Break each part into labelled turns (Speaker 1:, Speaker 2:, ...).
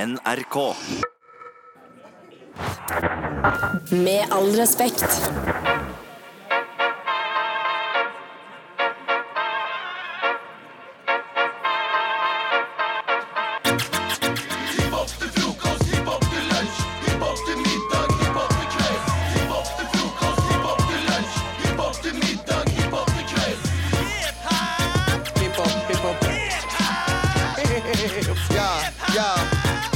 Speaker 1: NRK.
Speaker 2: Med all respekt.
Speaker 3: Ja, ja.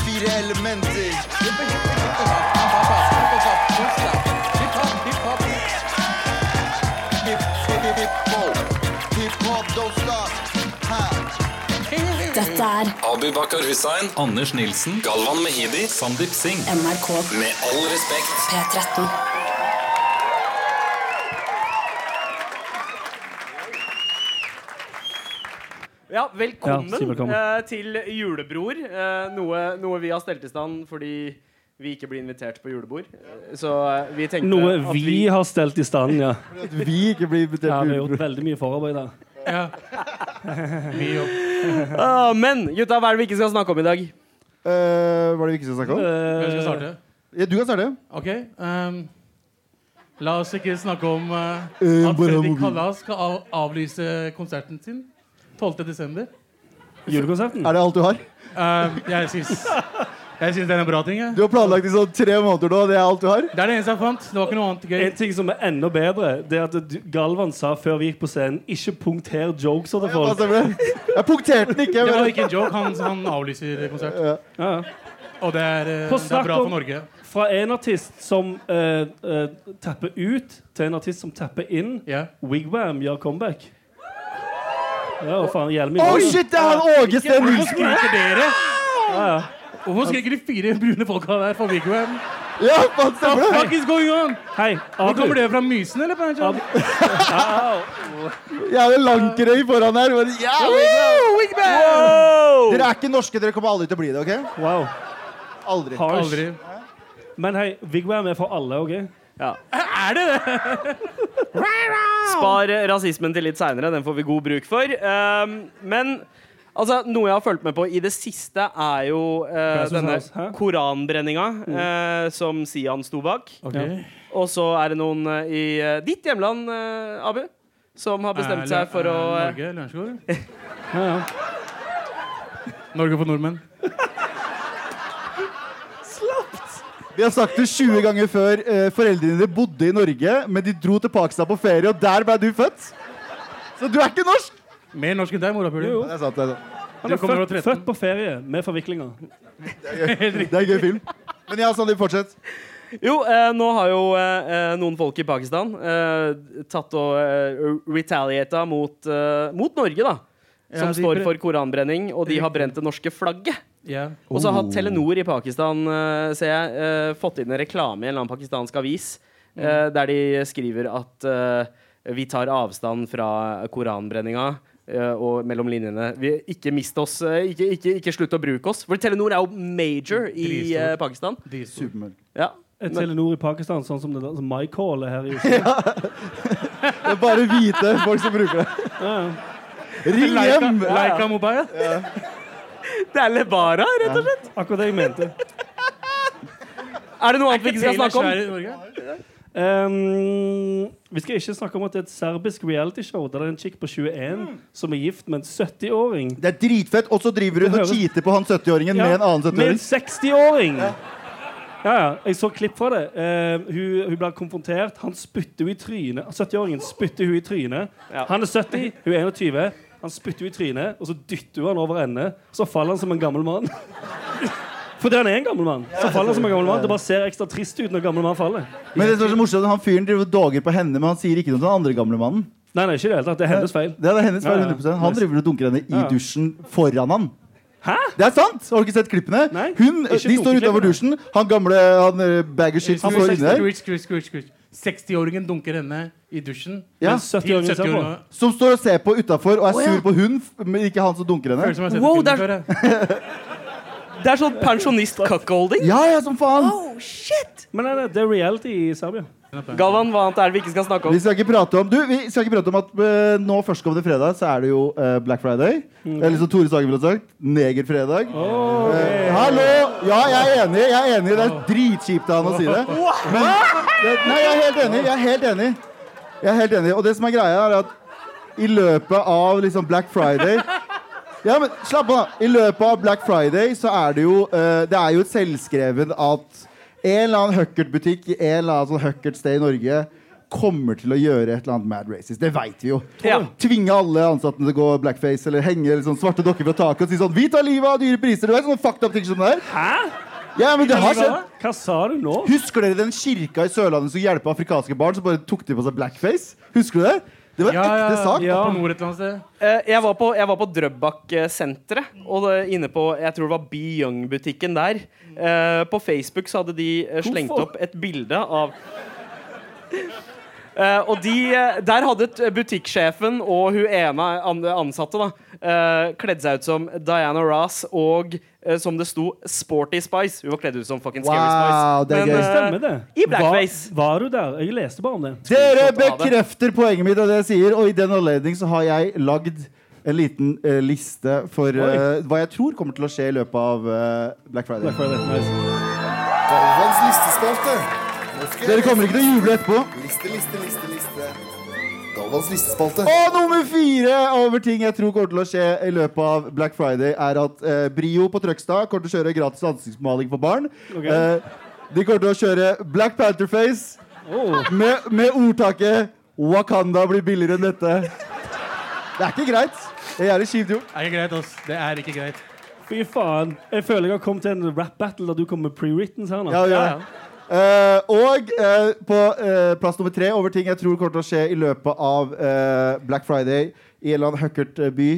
Speaker 3: Fire elementer. Hip, hip, hip, hip, hop. Hip hop, don't stop. Ha.
Speaker 2: Dette er
Speaker 4: Abu Bakar Hussein,
Speaker 5: Anders Nilsen,
Speaker 4: Galvan Mehidi,
Speaker 5: Sandeep Singh.
Speaker 2: NRK
Speaker 4: med all respekt,
Speaker 2: P13.
Speaker 6: Ja, velkommen,
Speaker 7: Ja, si velkommen.
Speaker 6: eh, til Julebror. eh, noe, noe vi har stelt i stand fordi vi ikke blir invitert på julebord. Eh, så eh, vi tenkte
Speaker 7: Noe
Speaker 6: at
Speaker 7: vi har stelt i stand, ja.
Speaker 3: Vi ikke blir invitert
Speaker 7: ja
Speaker 3: på
Speaker 7: vi har
Speaker 3: julebord.
Speaker 7: gjort veldig mye forarbeid der.
Speaker 6: Ah, Men gutta, hva er det vi ikke skal snakke om i dag?
Speaker 3: Eh, Var det vi ikke skulle snakke om?
Speaker 7: Eh,
Speaker 8: Hvem skal starte?
Speaker 3: Ja, du kan starte.
Speaker 8: Ok. ehm, la oss ikke snakke om eh,
Speaker 3: Eh, bare
Speaker 8: at
Speaker 3: mobil.
Speaker 8: Fredrik Kallas skal av avlyse konserten sin 12. desember.
Speaker 7: Julekonserten?
Speaker 3: Er det alt du har?
Speaker 8: Ehm, jeg syns Jeg syns det er en bra ting. Jeg.
Speaker 3: Du har planlagt i sånn tre måneder nå, og det er alt du har?
Speaker 8: Det er det eneste jeg fant. Det var ikke noe annet gøy.
Speaker 7: En ting som er enda bedre, det er at du- Galvan sa før vi gikk på scenen 'ikke punkter jokes' til
Speaker 3: Hva
Speaker 7: folk.
Speaker 3: stemmer det? Jeg punkterte den ikke.
Speaker 8: Det var
Speaker 3: Men...
Speaker 8: ikke en joke. Han, han avlyser konsert.
Speaker 7: Ja. ja.
Speaker 8: Og det er, eh,
Speaker 7: På
Speaker 8: det er
Speaker 7: snakk
Speaker 8: bra
Speaker 7: om-
Speaker 8: for Norge.
Speaker 7: Fra en artist som eh, eh, tapper ut, til en artist som tapper inn.
Speaker 8: Ja.
Speaker 7: Wigwam gjør comeback. Ja, og faen, hjelm i
Speaker 3: Å,
Speaker 7: hånden.
Speaker 3: shit! Det er han Åge Steen
Speaker 8: Hvorfor
Speaker 3: Nilsen!
Speaker 8: skriker dere?
Speaker 7: Ja, ja.
Speaker 8: Hvorfor skriker de fire brune folka der for Wigwam?
Speaker 3: Ja, faen, stemmer det?
Speaker 8: Fuck is going on?
Speaker 7: Hei,
Speaker 8: Hvor
Speaker 7: Abu.
Speaker 8: kommer det fra? Mysen, eller? på en måte?
Speaker 3: Jeg har en langkrøy foran her. Men... Ja, Dere er ikke norske, dere kommer aldri til å bli det. ok?
Speaker 7: Wow.
Speaker 3: Aldri.
Speaker 7: Harsh.
Speaker 8: Aldri.
Speaker 7: Men hei, Wigwam er for alle, OK?
Speaker 8: Er det det?
Speaker 6: Spar eh, rasismen til litt seinere. Den får vi god bruk for. Ehm, men altså, noe jeg har fulgt med på i det siste, er jo eh,
Speaker 7: Paradise
Speaker 6: denne
Speaker 7: House, hæ? Mm.
Speaker 6: koranbrenninga eh, som Sian sto bak.
Speaker 8: Ok.
Speaker 6: Og så er det noen eh, i eh, ditt hjemland, eh, Abu, som har bestemt
Speaker 8: Er-
Speaker 6: seg for
Speaker 8: er
Speaker 6: å eh,
Speaker 8: Norge, Lørenskog? Norge for nordmenn.
Speaker 3: Vi har sagt det 20 ganger før. Eh, foreldrene dine bodde i Norge, men de dro til Pakistan på ferie, og der ble du født. Så du er ikke norsk!
Speaker 8: Mer norsk enn deg, morapuler.
Speaker 3: Det er sant, det er sant.
Speaker 8: Du kommer over
Speaker 7: Født,
Speaker 8: 13.
Speaker 7: født på ferie med forviklinger.
Speaker 3: Det er en gøy film. Men ja, Sandeep, fortsett.
Speaker 6: Jo, eh, nå har jo eh, eh, noen folk i Pakistan eh, tatt og eh, retaliata mot, eh, mot Norge, da. Som
Speaker 8: Ja, de
Speaker 6: står
Speaker 8: bre-
Speaker 6: for koranbrenning, og de har brent det norske flagget.
Speaker 8: Ja.
Speaker 6: Og så har Telenor i Pakistan eh, ser jeg, eh, fått inn en reklame i en eller annen pakistansk avis eh, der de skriver at eh, vi tar avstand fra koranbrenninga. eh, og mellom linjene vi, Ikke mist oss. eh, ikke, ikke, ikke slutt å bruke oss. For Telenor er jo major i eh,
Speaker 8: Dritstor.
Speaker 6: Pakistan.
Speaker 8: De sto-
Speaker 3: Supermørk.
Speaker 6: Ja.
Speaker 7: Et Telenor i Pakistan, sånn som det der, som MyCall er her i
Speaker 3: Det er bare hvite folk som bruker det. Ring
Speaker 8: Leica,
Speaker 3: hjem!
Speaker 8: Leica Mobile.
Speaker 6: Det er Levara, rett og slett.
Speaker 7: Akkurat det jeg mente.
Speaker 6: Er det noe annet vi ikke skal snakke om?
Speaker 8: Taylor Swift i Norge.
Speaker 7: Ehm, vi skal ikke snakke om at det er et serbisk realityshow der det er en chick på 21 som er gift med en 70-åring.
Speaker 3: Det er dritfett, og så driver hun
Speaker 7: Det
Speaker 3: og
Speaker 7: høres-
Speaker 3: cheater på han 70-åringen med en annen
Speaker 7: Med en
Speaker 3: 70-åring.
Speaker 7: 60-åring! Ja, ja. Jeg så klipp fra det. Eh, hun, hun blir konfrontert. Han spytter hun i trynet. 70-åringen spytter hun i trynet.
Speaker 6: Ja.
Speaker 7: Han er 70, hun er 21. Han spytter hun i trynet, og så dytter hun han over ende. Så faller han som en gammel mann. Fordi han er en gammel mann. Så faller han som en gammel mann. Det bare ser ekstra trist ut når gamle mann faller.
Speaker 3: Men det som er så morsomt, han fyren driver og doger på henne, men han sier ikke noe til den andre gamle mannen.
Speaker 7: Nei, nei, ikke i det hele tatt. Det er hennes feil.
Speaker 3: Det er hennes feil
Speaker 7: Ja, ja.
Speaker 3: 100 Han driver og dunker henne i
Speaker 7: Ja.
Speaker 3: dusjen foran han.
Speaker 7: Hæ?
Speaker 3: Det er sant! Har du ikke sett klippene?
Speaker 7: Nei,
Speaker 3: Hun,
Speaker 7: ikke
Speaker 3: de står utenfor
Speaker 7: dunkeklippene.
Speaker 3: dusjen. Han gamle han, eh, bag of shit som
Speaker 8: Han
Speaker 3: står inne der,
Speaker 8: var 60-åringen dunker henne i dusjen.
Speaker 3: Ja.
Speaker 7: Men 70-åringen ser på.
Speaker 3: som står og ser på utafor og er sur på hun, f- men ikke han som dunker
Speaker 8: Føles
Speaker 3: henne.
Speaker 8: som jeg har sett
Speaker 6: Wow,
Speaker 8: wow,
Speaker 6: der-
Speaker 8: før. jeg.
Speaker 6: Det er sånn pensjonist-cuckolding.
Speaker 3: Ja, ja, som faen!
Speaker 6: Oh, shit!
Speaker 7: Men nei, nei, det er reality i Serbia.
Speaker 6: Galvan, hva annet er det vi ikke skal snakke om?
Speaker 3: Vi skal ikke prate om Du, vi skal ikke prate om at eh, nå førstkommende fredag så er det jo eh, Black Friday. Eller som Tore Sagen ville sagt, negerfredag. Eh, hallo! Ja, jeg er enig. jeg er enig Det er dritkjipt av han å si det. Men det, Nei, jeg er helt enig. Jeg er helt enig. Jeg er helt enig. Og det som er greia, er at i løpet av liksom Black Friday Ja, men slapp av. I løpet av Black Friday så er det jo eh, Det er jo selvskreven at en eller annen Huckert-butikk i en eller annen sånn Huckert-sted i Norge kommer til å gjøre et eller annet mad racist. Det veit vi jo.
Speaker 6: Ja.
Speaker 3: Tvinge alle ansatte til å gå blackface eller henge liksom, svarte dokker fra taket og si sånn Vi tar livet av dyre priser. Du vet sånne fucked up ting som det der.
Speaker 7: Hæ?
Speaker 3: Ja, men det har skjedd.
Speaker 7: Hva sa du nå?
Speaker 3: Husker dere den kirka i Sørlandet som hjelpa afrikanske barn, som bare tok de på seg blackface? Husker du det? Det var en ekte sak.
Speaker 8: ja. På nord et eller annet sted.
Speaker 6: Eh, Jeg var på, jeg var på Drøbak-senteret, og det- inne på jeg tror det var Be Young-butikken der. Eh, På Facebook så hadde de eh, slengt
Speaker 7: Hvorfor?
Speaker 6: opp et bilde av Eh, og de, eh, Der hadde t- butikksjefen og hun ene an- ansatte da, eh, kledd seg ut som Diana Ross og eh, som det sto Sporty Spice. Hun var kledd ut som fucking Scary
Speaker 3: Wow,
Speaker 6: Spice.
Speaker 3: det er gøy.
Speaker 6: eh,
Speaker 7: Stemmer det?
Speaker 6: I blackface.
Speaker 7: Var, var du der? Jeg leste bare om det.
Speaker 3: Dere
Speaker 6: Screenshot av det.
Speaker 3: bekrefter poenget mitt og det jeg sier, og i den anledning så har jeg lagd en liten eh, liste for eh, hva jeg tror kommer til å skje i løpet av eh, Black Friday.
Speaker 7: Takk for det. Nice.
Speaker 1: Galvans listespalte. Nå skal jeg
Speaker 3: Dere kommer ikke til å juble etterpå.
Speaker 1: Liste, liste, liste, liste. Galvans listespalte.
Speaker 3: Og nummer fire over ting jeg tror kommer til å skje i løpet av Black Friday, er at eh, Brio på Trøgstad kommer til å kjøre gratis ansiktsmaling for barn. Eh, de kommer til å kjøre Black Panther-face med, med ordtaket 'Wakanda blir billigere enn dette'. Det er ikke greit. Det er jævlig kjipt gjort.
Speaker 8: Det er ikke greit, ass. Det er ikke greit.
Speaker 7: Fy faen. Jeg føler jeg har kommet til en rap battle der du kommer med pre-writtens her nå.
Speaker 3: Ja, ja. Eh, og eh, på eh, plass nummer tre over ting jeg tror kommer til å skje i løpet av eh, Black Friday i en eller annen huckert eh, by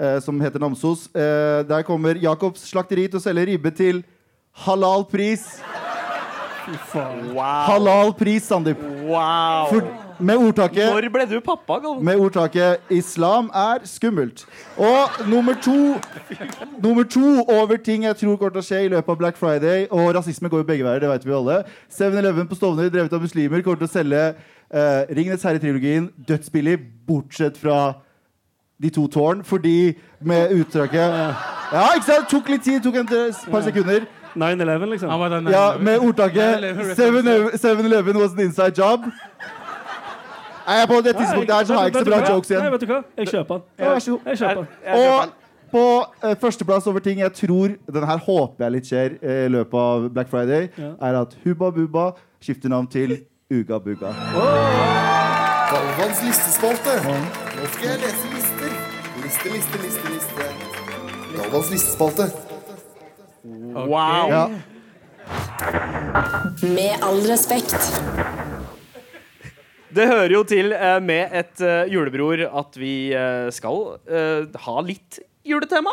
Speaker 3: eh, som heter Namsos. Eh, der kommer Jacobs slakteri til å selge ribbe til halal pris.
Speaker 7: Fy faen.
Speaker 3: Halal pris, Sandeep.
Speaker 6: Wow.
Speaker 3: For, med ordtaket
Speaker 6: Når ble du pappa, Galvan?
Speaker 3: med ordtaket 'Islam er skummelt'. Og nummer to Nummer to over ting jeg tror kommer til å skje i løpet av Black Friday. Og rasisme går jo begge veier, det vet vi alle. 7-Eleven på Stovner, drevet av muslimer, kommer til å selge uh, Ringenes herre-trilogien dødsbillig, bortsett fra de to tårn, fordi med uttrykket eh, Ja, ikke sant? Tok litt tid, tok en par sekunder.
Speaker 7: 9-11, liksom.
Speaker 8: Han var den
Speaker 3: Ja, med ordtaket 7-Eleven was an inside job. Nei, jeg er på det tidspunktet her så har jeg ikke så bra
Speaker 7: Vet du hva?
Speaker 3: jokes igjen.
Speaker 7: Nei, vet du hva? Jeg kjøper den.
Speaker 3: Ja, vær så god.
Speaker 7: Jeg kjøper den.
Speaker 3: Og på eh, førsteplass over ting jeg tror Den her håper jeg litt skjer eh, i løpet av Black Friday, er at Hubba Bubba skifter navn til Uga Buga.
Speaker 1: Galvans listespalte. Nå skal jeg lese lister. Liste, liste, liste, liste. Galvans listespalte.
Speaker 6: Wow.
Speaker 3: Ja.
Speaker 2: Med all respekt.
Speaker 6: Det hører jo til eh, med et eh, julebror at vi eh, skal eh, ha litt juletema.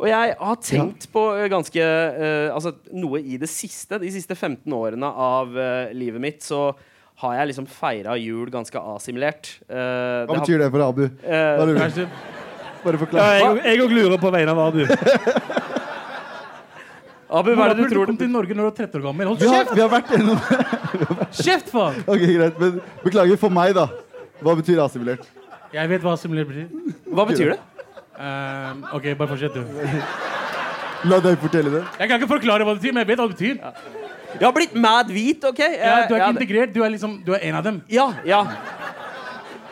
Speaker 6: Og jeg har tenkt på eh, ganske eh, Altså noe i det siste. De siste 15 årene av eh, livet mitt så har jeg liksom feira jul ganske asimilert. Eh,
Speaker 3: Hva betyr det for Abu? Hva lurer du?
Speaker 8: Kanskje
Speaker 3: Bare
Speaker 7: Ja,
Speaker 3: forklar.
Speaker 7: jeg- Jeg òg lurer på vegne av Abu.
Speaker 6: har, Abu, hva er det du tror?
Speaker 8: kom til Norge når du var 13 år gammel. Hold
Speaker 3: Vi har,
Speaker 8: kjeft!
Speaker 3: vi har vært gjennom
Speaker 8: Kjeft, faen!
Speaker 3: Ok, greit. Men beklager for meg, da. Hva betyr assimilert?
Speaker 8: Jeg vet hva assimilert betyr.
Speaker 6: Hva betyr det?
Speaker 8: Ehm, OK, bare fortsett, du.
Speaker 3: La deg fortelle det.
Speaker 8: Jeg kan ikke forklare hva det betyr, men jeg vet hva det betyr.
Speaker 6: Jeg har blitt mad hvit, OK? Jeg-
Speaker 8: Ja, du er
Speaker 6: jeg-
Speaker 8: ikke integrert, du er liksom Du er en av dem.
Speaker 6: Ja, ja.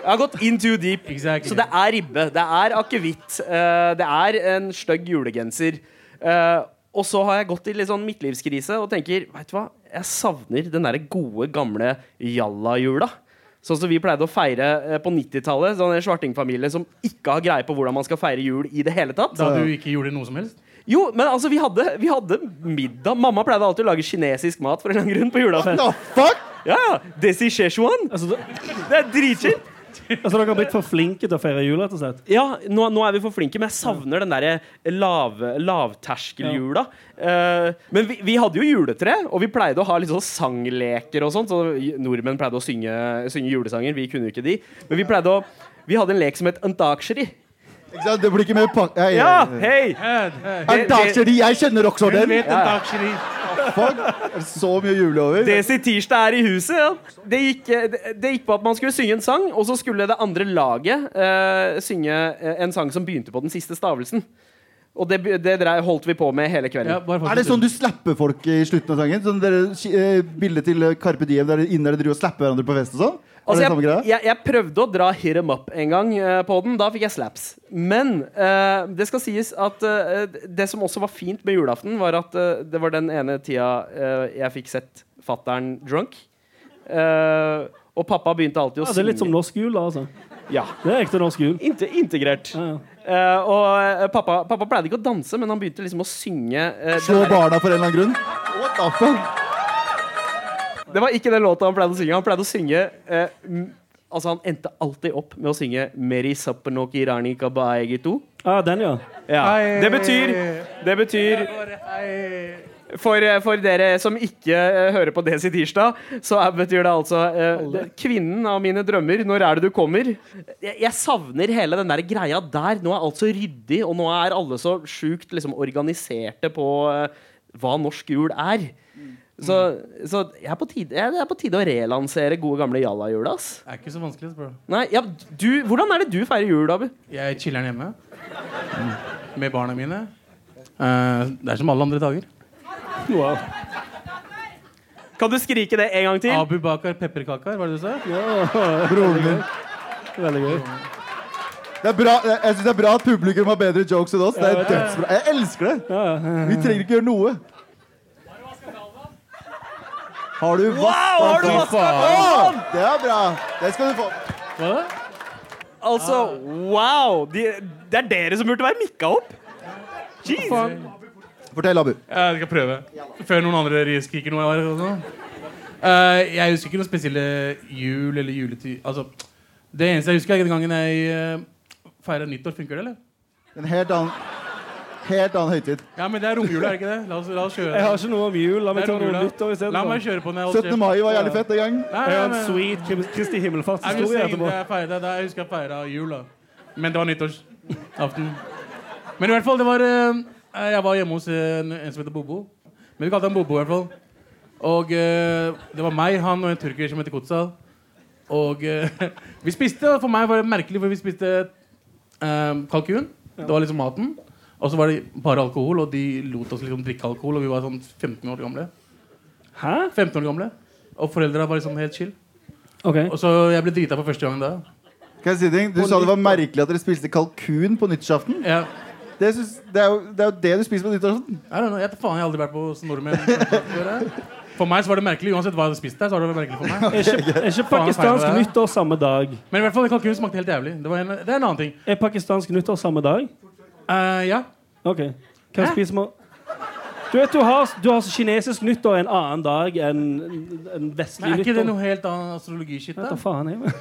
Speaker 6: Jeg har gått in too deep.
Speaker 8: Exactly.
Speaker 6: Så det er ribbe. Det er akevitt. eh, det er en stygg julegenser. Eh, og så har jeg gått i litt sånn midtlivskrise og tenker vet du hva, jeg savner den derre gode, gamle jalla-jula. Sånn som vi pleide å feire eh, på 90-tallet. Sånn en svartingfamilie som ikke har greie på hvordan man skal feire jul i det hele tatt.
Speaker 8: Da du ikke gjorde noe som helst.
Speaker 6: Jo, men altså, vi hadde, vi hadde middag. Mamma pleide alltid å lage kinesisk mat for en eller annen grunn på julaften.
Speaker 3: The fuck?
Speaker 6: Ja, ja. Desi Szechuan.
Speaker 7: Altså, da-
Speaker 6: Det er dritskitt.
Speaker 7: altså Dere har blitt for flinke til å feire jul, rett og slett.
Speaker 6: Ja, nå, nå er vi for flinke, men jeg savner den derre lav, lavterskeljula. Eh, men vi, vi hadde jo juletre, og vi pleide å ha litt sånn sangleker og sånt. Så nordmenn pleide å synge, synge julesanger, vi kunne jo ikke de. Men vi pleide å Vi hadde en lek som het Antaksheri.
Speaker 3: Ikke sant? Det blir ikke mer pakk...
Speaker 6: Ja, hei!
Speaker 8: Hey, hey.
Speaker 3: Jeg kjenner
Speaker 8: Jeg
Speaker 3: Oxford.
Speaker 8: vet en dag, Shiri.
Speaker 3: Fuck, er det så mye å juble over.
Speaker 6: Desi Tirsdag er i huset. Ja. Det, gikk, det, det gikk på at man skulle synge en sang, og så skulle det andre laget eh, synge eh, en sang som begynte på den siste stavelsen. Og det, det drei- holdt vi på med hele kvelden.
Speaker 8: Ja, bare
Speaker 3: Er det
Speaker 8: fortsett.
Speaker 3: sånn du slapper folk i slutten av sangen? Sånn dere, eh, Bildet til eh, Carpe Diem der dere inne dere driver og slapper hverandre på fest og sånn? Er
Speaker 6: Altså,
Speaker 3: det samme
Speaker 6: jeg,
Speaker 3: greia?
Speaker 6: jeg, jeg prøvde å dra hit em up en gang eh, på den. Da fikk jeg slaps. Men eh, det skal sies at eh, det som også var fint med julaften, var at eh, det var den ene tida eh, jeg fikk sett fattern drunk. Eh, og pappa begynte alltid å
Speaker 7: Ja, det er
Speaker 6: synge.
Speaker 7: litt som norsk jul, da. altså
Speaker 6: Ja.
Speaker 7: Det er ekte norsk jul.
Speaker 6: Inte integrert.
Speaker 7: Ja, ja.
Speaker 6: Eh, og eh, pappa, pappa pleide ikke å danse, men han begynte liksom å synge. eh, den
Speaker 3: Slå
Speaker 6: der-
Speaker 3: barna for en eller annen grunn? What the fuck?
Speaker 6: det var ikke den låta han pleide å synge. Han pleide å synge eh, m- Altså Han endte alltid opp med å synge Meri sappanoki rani kabaegito.
Speaker 7: Ja, den, ja.
Speaker 6: Ja. Det betyr Det betyr for, eh, for dere som ikke eh, hører på Desi Tirsdag, så er, betyr det altså eh, det- Kvinnen av mine drømmer, når er det du kommer? Jeg, jeg savner hele den der greia der. Nå er alt så ryddig, og nå er alle så sjukt liksom, organiserte på eh, hva norsk jul er. Så, så jeg er på tide, jeg, det er på tide å relansere gode gamle Jalla-jula. ass.
Speaker 8: Det er ikke så vanskelig, bro.
Speaker 6: Nei, ja, du, hvordan er det du feirer jul, Abu?
Speaker 8: Jeg chiller'n hjemme mm, med barna mine. Eh, det er som alle andre dager.
Speaker 7: Wow.
Speaker 6: Kan du skrike det en gang til?
Speaker 8: Abu Bakar pepperkaker, var det du sa?
Speaker 3: Broren min.
Speaker 7: Veldig gøy.
Speaker 3: Det er bra, jeg jeg synes det er bra at publikum har bedre jokes enn oss. Det er dødsbra. Jeg elsker det. Vi trenger ikke gjøre noe. Har du vasket
Speaker 6: har du vasket
Speaker 3: Å, Det er bra. Det skal du få.
Speaker 6: Altså, wow! De, det er dere som burde være mikka opp. Jeez.
Speaker 3: Fortell, Abu.
Speaker 8: Jeg skal prøve. Før noen andre ri- skriker noe. Eller noe. sånt. Eh, jeg husker ikke noen spesielle jul eller juletid altså, Det eneste jeg husker, er den gangen jeg uh, feira nyttår. Funker det, eller?
Speaker 3: En helt annen, helt annen høytid.
Speaker 8: Ja, men det er romjula, er det ikke det? La oss, la oss kjøre.
Speaker 7: Jeg har ikke noe om jul. La
Speaker 8: Det
Speaker 7: meg
Speaker 8: er
Speaker 7: ta noe
Speaker 8: romjula.
Speaker 7: nyttår
Speaker 8: La meg
Speaker 7: isteden.
Speaker 8: kjøre på den. jeg holder
Speaker 3: 17. mai var jævlig fett den gang.
Speaker 8: kjeft. Nei,
Speaker 7: Jeg har
Speaker 8: nei,
Speaker 7: en
Speaker 8: nei.
Speaker 7: sweet Krim- Kristi
Speaker 8: I'm just
Speaker 7: himmelfartshistorie
Speaker 8: saying,
Speaker 7: etterpå.
Speaker 8: det er feira, det er, jeg husker jeg feira jul, da. Men det var nyttårsaften. Men i hvert fall, det var eh, Jeg var hjemme hos en, en som heter Bobo. Men vi kalte han Bobo, i hvert fall. Og eh, det var meg, han og en tyrker som heter Kotsal. Og eh, vi spiste, og for meg var det merkelig, for vi spiste eh, kalkun. Det var liksom maten. Og så var det bare alkohol, og de lot oss liksom drikke alkohol. Og vi var sånn 15 år gamle.
Speaker 7: Hæ?
Speaker 8: 15 år gamle. Og foreldra var liksom helt chill.
Speaker 7: OK.
Speaker 8: Og så jeg ble drita for første gang da.
Speaker 3: Kan jeg si en ting? Du sa det var merkelig at dere spiste kalkun på nyttårsaften.
Speaker 8: Ja.
Speaker 3: Det, synes, det, er jo, det er jo det du spiser på nyttårsaften.
Speaker 8: I don't know, Jeg vet faen, jeg har aldri vært på hos nordmenn. For meg så var det merkelig. Uansett hva jeg hadde spist der, så var det merkelig for meg.
Speaker 7: Er ikke, er ikke
Speaker 8: Faen, feil
Speaker 7: pakistansk
Speaker 8: med det.
Speaker 7: nyttår samme dag?
Speaker 8: Men i hvert fall, kalkunen smakte helt jævlig. Det, var en, det er en annen ting.
Speaker 7: Er pakistansk nyttår samme dag?
Speaker 8: Eh, ja.
Speaker 7: OK. Hva spiser man Du vet, du har, du har kinesisk nyttår en annen dag enn en
Speaker 8: Men
Speaker 7: vestlig
Speaker 8: er ikke det
Speaker 7: nyttår.
Speaker 8: noe helt annen astrologi-shit?
Speaker 7: Hva
Speaker 8: da?
Speaker 7: faen er det?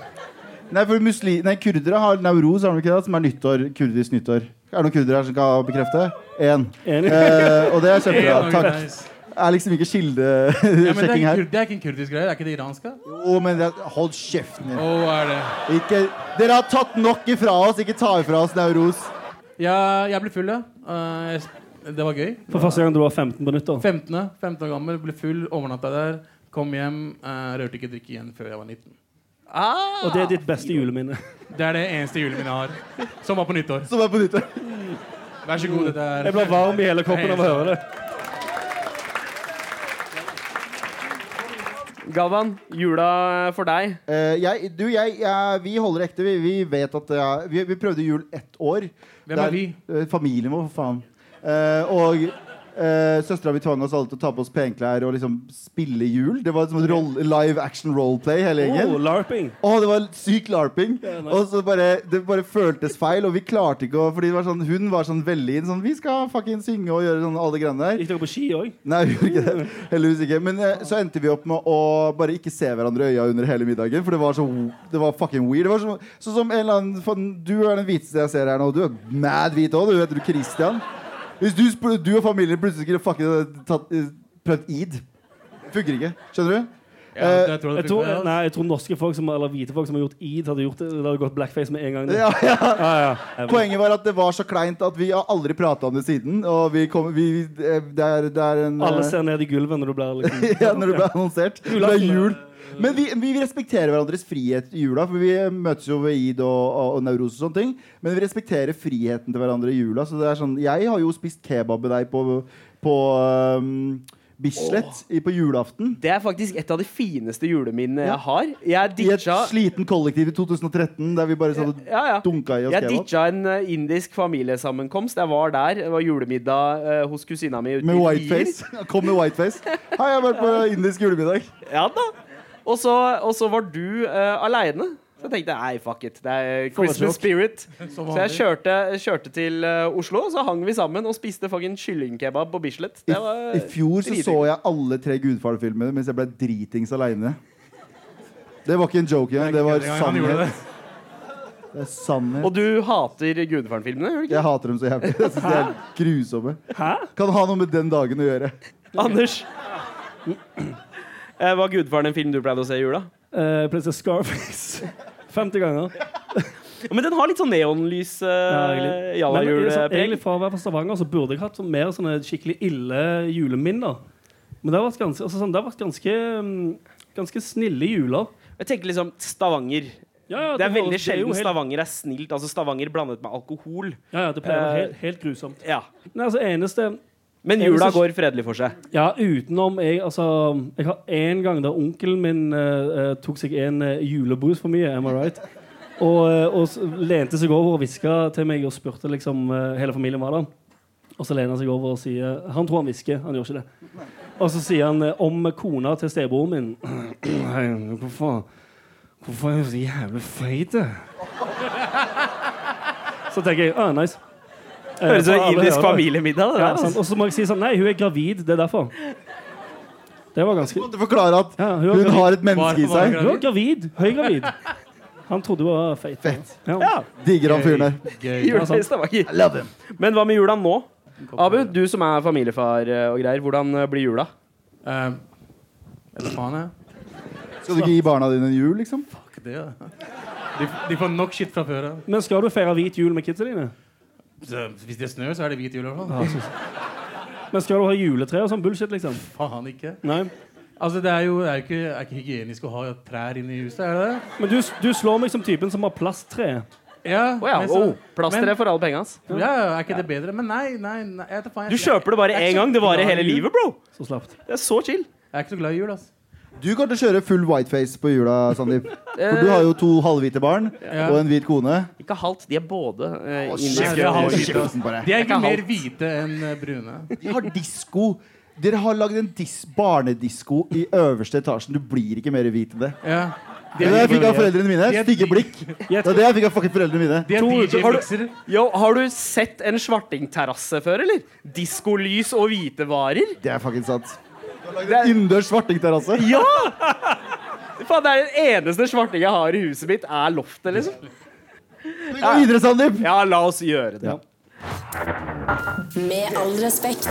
Speaker 3: Nei, for musli, nei, kurdere har Nauruz, har de ikke det? Som er nyttår, kurdisk nyttår. Er det noen kurdere her som kan bekrefte? Én.
Speaker 7: Enig.
Speaker 3: Eh, og det er
Speaker 8: Det er
Speaker 3: kjempebra.
Speaker 8: noe
Speaker 3: Takk.
Speaker 8: nice.
Speaker 3: Det er liksom ikke
Speaker 8: Ja, men det, er
Speaker 3: kildesjekking
Speaker 8: ikke,
Speaker 3: her.
Speaker 8: kur- det er ikke en kurdisk greie. Det er ikke det iranske. Å,
Speaker 3: Jo, men det, er- hold kjeften din.
Speaker 8: er det?
Speaker 3: Ikke, dere har tatt nok ifra oss. Ikke ta ifra oss Nauruz.
Speaker 8: Ja, jeg ble full, ja. Eh, jeg sp- det var gøy.
Speaker 7: For første gang du var 15 på nyttår.
Speaker 8: 15. 15 år gammel, ble full, overnatta der. Kom hjem, eh, rørte ikke drikke igjen før jeg var 19.
Speaker 6: Ah!
Speaker 7: Og det er ditt beste juleminne.
Speaker 8: Det er det eneste juleminnet jeg har. Som var på nyttår.
Speaker 3: Som er på nyttår.
Speaker 8: Vær så god, dette er
Speaker 7: Jeg ble varm i hele kroppen av å høre det.
Speaker 6: Galvan, jula for deg.
Speaker 3: Eh, jeg, du, jeg, jeg, vi holder ekte. Vi, vi vet at det er- vi, vi prøvde jul ett år.
Speaker 8: Hvem
Speaker 3: Der-
Speaker 8: er vi?
Speaker 3: eh, familien vår, for faen. Eh, og uh, søstera mi tvang oss alle til å ta på oss penklær og liksom spille jul. Det var som et roll, live action roleplay, hele gjengen.
Speaker 7: Oh, larping.
Speaker 3: Å, det var syk larping.
Speaker 7: nice.
Speaker 3: Og så bare, det bare føltes feil, og vi klarte ikke å Fordi det var sånn, hun var sånn veldig inn sånn Vi skal fucking synge og gjøre sånn alle greiene der.
Speaker 7: Gikk dere på ski òg?
Speaker 3: Nei, vi gjorde ikke det. Heldigvis ikke. Men eh, så endte vi opp med å bare ikke se hverandre i øya under hele middagen. For det var så Det var fucking weird. Det var så, sånn som en eller annen faen, Du er den hviteste jeg ser her nå. Du er mad hvit òg. Du heter du Christian. Hvis du, spl- eh, du og familien plutselig skulle fucking tatt, eh, prøvd id Funker ikke. Skjønner du?
Speaker 8: Ja, det tror
Speaker 7: Jeg
Speaker 8: jeg det
Speaker 7: tror,
Speaker 8: fikk- altså.
Speaker 7: nei, jeg tror norske folk som, eller hvite folk som har gjort id, hadde gjort det. Det hadde gått blackface med en gang.
Speaker 3: Ja, ja.
Speaker 7: Ja, ja. Jeg vet.
Speaker 3: Poenget var at det var så kleint at vi har aldri prata om det siden. Og vi kom, vi, eh, det, er, det er en eh,
Speaker 7: Alle ser ned i gulvet når du blir liksom
Speaker 3: ja, når det ble annonsert. Det er
Speaker 7: Julaften,
Speaker 3: jul. Men vi, vi respekterer hverandres frihet i jula, for vi møtes jo ved id og, og, og neuros og sånne ting. Men vi respekterer friheten til hverandre i jula. Så det er sånn, jeg har jo spist kebab med deg på, på um, Bislett i, på julaften.
Speaker 6: Det er faktisk et av de fineste juleminnene
Speaker 3: Ja.
Speaker 6: jeg har. Jeg
Speaker 3: I et
Speaker 6: ditcha
Speaker 3: sliten kollektiv i 2013 der vi bare satt og
Speaker 6: ja, ja.
Speaker 3: dunka i oss
Speaker 6: Jeg
Speaker 3: kebab.
Speaker 6: ditcha en eh, indisk familiesammenkomst. Jeg var der. Det var julemiddag eh, hos kusina mi. ute
Speaker 3: Med
Speaker 6: i
Speaker 3: whiteface. Kom med whiteface. Hei, jeg har vært på indisk julemiddag.
Speaker 6: Lier. Ja da. Og så, og så var du uh, aleine. Så jeg tenkte nei, fuck it. Det er Christmas spirit.
Speaker 8: Som
Speaker 6: Så jeg
Speaker 8: vanlig.
Speaker 6: kjørte, kjørte til eh, Oslo, så hang vi sammen og spiste fucking kyllingkebab på Bislett.
Speaker 3: I,
Speaker 6: Det var
Speaker 3: I fjor så,
Speaker 6: drithyggelig.
Speaker 3: så jeg alle tre Gudfar-filmene mens jeg ble dritings aleine. Det var ikke en joke engang. Det var
Speaker 8: Den gangen han gjorde
Speaker 3: sannhet.
Speaker 8: det.
Speaker 3: Det er sannhet.
Speaker 6: Og du hater Gudfaren-filmene, gjør du ikke?
Speaker 3: Jeg hater dem så jævlig. Jeg synes de er grusomme.
Speaker 7: Hæ?
Speaker 3: Kan ha noe med den dagen å gjøre.
Speaker 6: Anders? Eh, Var Gudfaren en film du pleide å se i jula?
Speaker 7: Eh, Prinsesse Scarface. 50 ganger.
Speaker 6: Ja, Men den har litt sånn neonlys
Speaker 7: Eh,
Speaker 6: uh,
Speaker 7: Ja, egentlig. Men, sånn,
Speaker 6: jallajulpreg.
Speaker 7: egentlig For å være fra Stavanger så burde jeg hatt sånn mer sånne skikkelig ille juleminner. Men det har vært ganske, altså sånn, det har vært ganske, mm, ganske snille juler.
Speaker 6: Jeg tenker liksom Stavanger.
Speaker 7: Ja, ja,
Speaker 6: Det er
Speaker 7: har-
Speaker 6: veldig
Speaker 7: er jo
Speaker 6: sjelden
Speaker 7: helt-
Speaker 6: Stavanger er snilt. Altså Stavanger blandet med alkohol.
Speaker 7: Ja, ja, det pleier å være helt, helt grusomt.
Speaker 6: Ja.
Speaker 7: Eh, Nei, altså eneste
Speaker 6: Men
Speaker 7: Jeg vil
Speaker 6: jula
Speaker 7: så-
Speaker 6: går fredelig for seg.
Speaker 7: Ja, utenom jeg, altså, jeg har en gang der onkelen min eh, eh, tok seg en eh, julebrus for mye, am I right? Og, eh, og s- lente seg over og hviska til meg og spurte liksom eh, hele familien var der. Og så lener han seg over og sier Han tror han hvisker, han gjør ikke det. Og så sier han eh, om kona til stebroren min «Hei, Hvorfor, hvorfor er hun så jævlig feit? eh?» Så tenker jeg ah, nice. Eh,
Speaker 6: Høres ut
Speaker 7: for
Speaker 6: som
Speaker 7: alle
Speaker 6: en indisk
Speaker 7: hører det.
Speaker 6: familiemiddag. Det
Speaker 7: Ja,
Speaker 6: der,
Speaker 7: sant.
Speaker 6: altså.
Speaker 7: Og så må jeg si sånn Nei, hun er gravid. Det er derfor. Det var ganske
Speaker 3: Måtte forklare at
Speaker 7: Ja, hun var
Speaker 3: hun
Speaker 7: gravid.
Speaker 3: har et menneske i seg.
Speaker 7: Hun var gravid. Høygravid. Han trodde hun var feit. Ja.
Speaker 6: Ja.
Speaker 3: Digger han fyren der.
Speaker 6: Jula i
Speaker 7: sant.
Speaker 6: Stavanger. Men hva med jula nå? Abu, du som er familiefar eh, og greier, hvordan eh, blir jula?
Speaker 8: Eh, Eller faen, jeg.
Speaker 3: Skal du ikke gi barna dine en jul, liksom?
Speaker 8: Fuck det, da. De, de får nok shit fra før av.
Speaker 7: Men skal du feire hvit jul med kidsa dine?
Speaker 8: Så Hvis det snør, så er det hvit jul i hvert fall.
Speaker 7: Men skal du ha juletre og sånn bullshit, liksom?
Speaker 8: Faen ikke.
Speaker 7: Nei.
Speaker 8: Altså, det er jo det er jo ikke, er ikke hygienisk å ha trær inne i huset, er det det?
Speaker 7: Men du, du slår meg som typen som har plasttre.
Speaker 8: Ja.
Speaker 6: Å ja.
Speaker 8: men så-
Speaker 6: Oh, Plasteret
Speaker 8: men-
Speaker 6: for alle penga. ass.
Speaker 8: Ja, ja, er ikke det bedre? Men nei, nei, nei jeg, vet da faen,
Speaker 6: Du
Speaker 8: jeg,
Speaker 6: kjøper det bare én gang. Det varer hele livet, bro.
Speaker 7: Så slapt.
Speaker 6: Det er så chill.
Speaker 8: jeg er ikke så glad i jul, altså. ass.
Speaker 3: Du kommer til å kjøre full whiteface på jula, Sandeep. For du har jo to halvhvite barn og en hvit kone.
Speaker 6: Ikke halvt. De er både eh,
Speaker 8: shit.
Speaker 6: indiske
Speaker 8: Ja,
Speaker 6: og
Speaker 8: halvt.
Speaker 6: hvite.
Speaker 3: Kjeften på deg.
Speaker 8: De er ikke
Speaker 6: kan
Speaker 8: mer
Speaker 6: alt.
Speaker 8: hvite enn eh, brune.
Speaker 3: De har disko. Dere har lagd en dis barnedisko i øverste etasjen. Du blir ikke mer hvit enn det.
Speaker 8: Ja.
Speaker 3: Det er det jeg fikk av foreldrene mine.
Speaker 8: De er
Speaker 3: Stygge
Speaker 8: de-
Speaker 3: blikk. Det er det jeg fikk av fucking foreldrene mine.
Speaker 8: De er
Speaker 7: To-
Speaker 6: har du-
Speaker 8: DJ-mikser.
Speaker 6: Yo, har du sett en svartingterrasse før, eller? Diskolys og hvite varer?
Speaker 3: Det er fucking sant. Innendørs svartingterrasse.
Speaker 6: Ja! Faen, det er den eneste svartingen jeg har i huset mitt, er loftet, liksom.
Speaker 3: Vi går videre, Sandeep.
Speaker 6: Ja, la oss gjøre det.
Speaker 3: Ja.
Speaker 2: Med all respekt.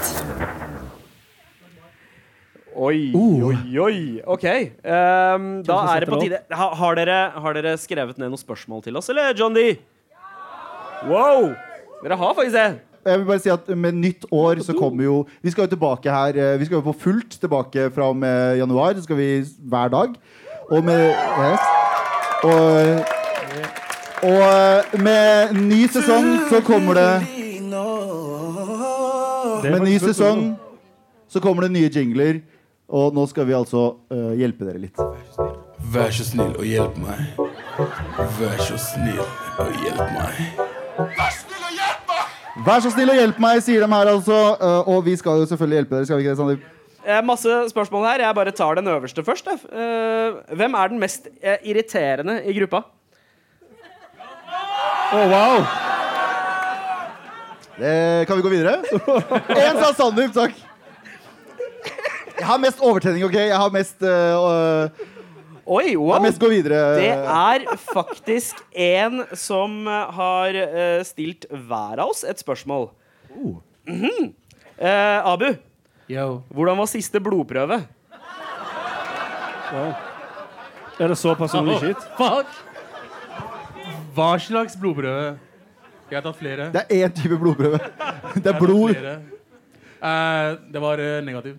Speaker 6: Oi, oi, oi. OK. ehm, da
Speaker 7: Uh. som
Speaker 6: er det på
Speaker 7: setter
Speaker 6: tide. Ha, har, dere, har dere skrevet ned noen spørsmål til oss, eller, John D? Wow! Dere har faktisk det.
Speaker 3: Jeg vil bare si at Med nytt år så kommer jo Vi skal jo tilbake her eh, Vi skal jo på fullt tilbake fra og med januar. Det skal vi hver dag. Og med yes. Og, og eh, med ny sesong så kommer det Med ny sesong så kommer det nye jingler. Og nå skal vi altså eh, hjelpe dere litt.
Speaker 5: Vær så snill og hjelp meg. Vær så snill og hjelp meg.
Speaker 3: Vær så snill og hjelp meg, sier de her altså. eh, og vi skal jo selvfølgelig hjelpe dere. Skal vi ikke det, Sandeep?
Speaker 6: Eh, masse spørsmål her. Jeg bare tar den øverste først. jeg. Eh, hvem er den mest eh, irriterende i gruppa?
Speaker 3: Det, Eh, kan vi gå videre? Én sa Sandeep, takk. Jeg har mest overtenning, OK? Jeg har mest, øh, øh, jeg
Speaker 6: Oi,
Speaker 3: har
Speaker 6: wow!
Speaker 3: mest gå videre.
Speaker 6: Det er faktisk en som eh, har eh, stilt hver av oss et spørsmål.
Speaker 7: Uh.
Speaker 6: Mhm. Eh, Abu,
Speaker 8: Yo.
Speaker 6: hvordan var siste blodprøve?
Speaker 7: Er det så personlig shit?
Speaker 8: Fuck! Hva slags blodprøve? Jeg har tatt flere.
Speaker 3: Det er én type blodprøve. Det er blod.
Speaker 8: Flere. Eh, det var eh, negativ.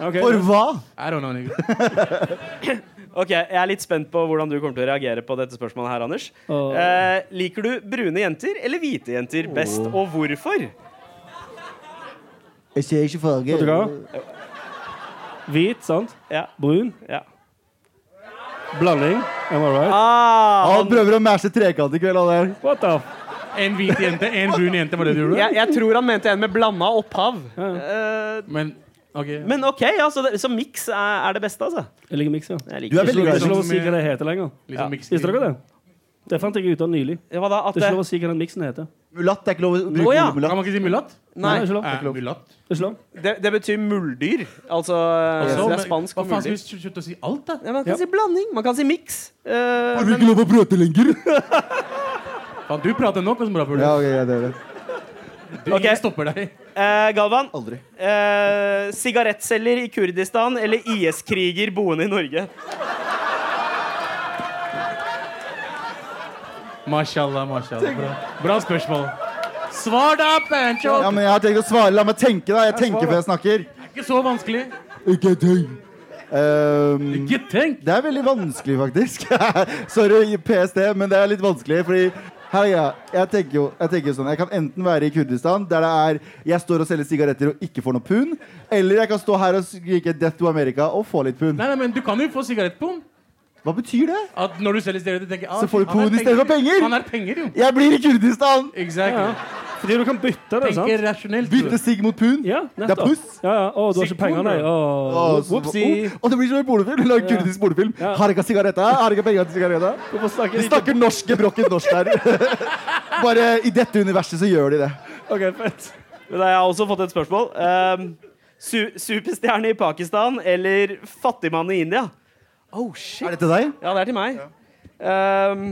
Speaker 7: Ok.
Speaker 3: For hva?
Speaker 8: I don't know, nigga.
Speaker 6: Ok, Jeg er litt spent på hvordan du kommer til å reagere på dette spørsmålet her, Anders.
Speaker 7: Åh.
Speaker 6: Eh, liker du brune jenter eller hvite jenter best, og hvorfor?
Speaker 3: Jeg ser ikke farge.
Speaker 7: Vet du hva? Hvit, sant?
Speaker 6: Ja,
Speaker 7: Brun.
Speaker 6: ja.
Speaker 7: Blanding. Am I right?
Speaker 6: Ah,
Speaker 3: Han prøver å mashe trekant i kveld, han der.
Speaker 7: What the
Speaker 8: En hvit jente, en brun jente, var det du gjorde?
Speaker 6: jeg, jeg tror han mente en med blanda opphav. Eh,
Speaker 8: Men OK.
Speaker 6: men OK, ja, så, det, så miks er, er det beste, altså.
Speaker 7: Jeg liker mix, ja.
Speaker 6: Jeg liker.
Speaker 7: Det
Speaker 3: Du er
Speaker 7: er
Speaker 3: veldig
Speaker 7: ikke
Speaker 3: glad i
Speaker 7: lov
Speaker 3: sånn.
Speaker 7: å si hva det heter lenger.
Speaker 8: Liksom mixed
Speaker 7: Visste dere
Speaker 8: drink.
Speaker 7: det? Det fant jeg ut av nylig. Det
Speaker 6: Hva da? At
Speaker 7: er ikke
Speaker 6: det,
Speaker 7: lov å si hva den miksen heter.
Speaker 3: Mulatt. Det er ikke lov å bruke
Speaker 6: Å, ja.
Speaker 3: ordet
Speaker 8: Kan
Speaker 3: mulatt.
Speaker 8: man ikke si mulatt?
Speaker 6: nei,
Speaker 7: det er ikke lov.
Speaker 8: Eh, mulatt.
Speaker 7: Det er ikke lov.
Speaker 6: det, det betyr muldyr. Altså
Speaker 8: Også,
Speaker 6: det
Speaker 8: men
Speaker 6: er spansk
Speaker 8: Hva
Speaker 6: og
Speaker 8: faen skal
Speaker 6: muldyr.
Speaker 8: vi slutte- slutte å si alt, da?
Speaker 6: Ja, man kan si blanding, man kan si miks. Eh,
Speaker 3: Har vi
Speaker 6: men
Speaker 3: ikke lov å prate lenger?
Speaker 8: Faen, du prater nok, og så bra for
Speaker 3: Ja,
Speaker 8: deg.
Speaker 3: ok, jeg gjør det.
Speaker 8: Du,
Speaker 6: Ok.
Speaker 8: Ingen stopper deg.
Speaker 6: eh, Galvan,
Speaker 3: Aldri.
Speaker 6: eh, sigarettceller i Kurdistan eller IS-kriger boende i Norge?
Speaker 8: Mashallah, mashallah. Bra, bra spørsmål. Svar da, Pancho!
Speaker 3: Ja, men jeg har tenkt å svare. La meg tenke, da. Jeg tenker før jeg snakker.
Speaker 8: Det er ikke så vanskelig.
Speaker 3: Ikke tenk. Ehm,
Speaker 8: Ikke tenk!
Speaker 3: Det er veldig vanskelig, faktisk. Sorry, PST, men det er litt vanskelig, fordi her er greia. jeg tenker jo jeg tenker jo sånn Jeg kan enten være i Kurdistan, der det er jeg står og selger sigaretter og ikke får noe pund, eller jeg kan stå her og skrike 'Death to America' og få litt pund.
Speaker 8: Nei, nei, men Du kan jo få sigarettpung.
Speaker 3: Hva betyr det?
Speaker 8: At når du selger stedet, tenker jeg, ah,
Speaker 3: Så får du
Speaker 8: han er
Speaker 3: pund i stedet for penger.
Speaker 8: Han er penger, jo.
Speaker 3: Jeg blir i Kurdistan!
Speaker 8: Exactly.
Speaker 7: Ja. Fordi du kan bytte det,
Speaker 8: Tenker
Speaker 7: sant?
Speaker 8: rasjonelt. du.
Speaker 3: Bytte sigg mot pund.
Speaker 7: Ja,
Speaker 3: det er
Speaker 7: nettopp.
Speaker 3: puss.
Speaker 7: Ja, ja. Å, du har ikke penger, nei.
Speaker 3: Og,
Speaker 7: Å,
Speaker 3: så- oh.
Speaker 7: Whoopsie.
Speaker 3: og det blir som en pornofilm. Lag kurdisk pornofilm.
Speaker 7: Ja.
Speaker 3: Har ikke sigaretta, har ikke penger til sigaretta.
Speaker 7: Hvorfor snakker
Speaker 3: De
Speaker 7: de ikke
Speaker 3: snakker norsk, gebrokkent norsk der. Bare i dette universet så gjør de det.
Speaker 7: OK, fett.
Speaker 6: Men da, jeg har også fått et spørsmål. Um, su superstjerne i Pakistan eller fattigmann i India? Oh, shit.
Speaker 3: Er dette deg?
Speaker 6: Ja, det er til meg. Um,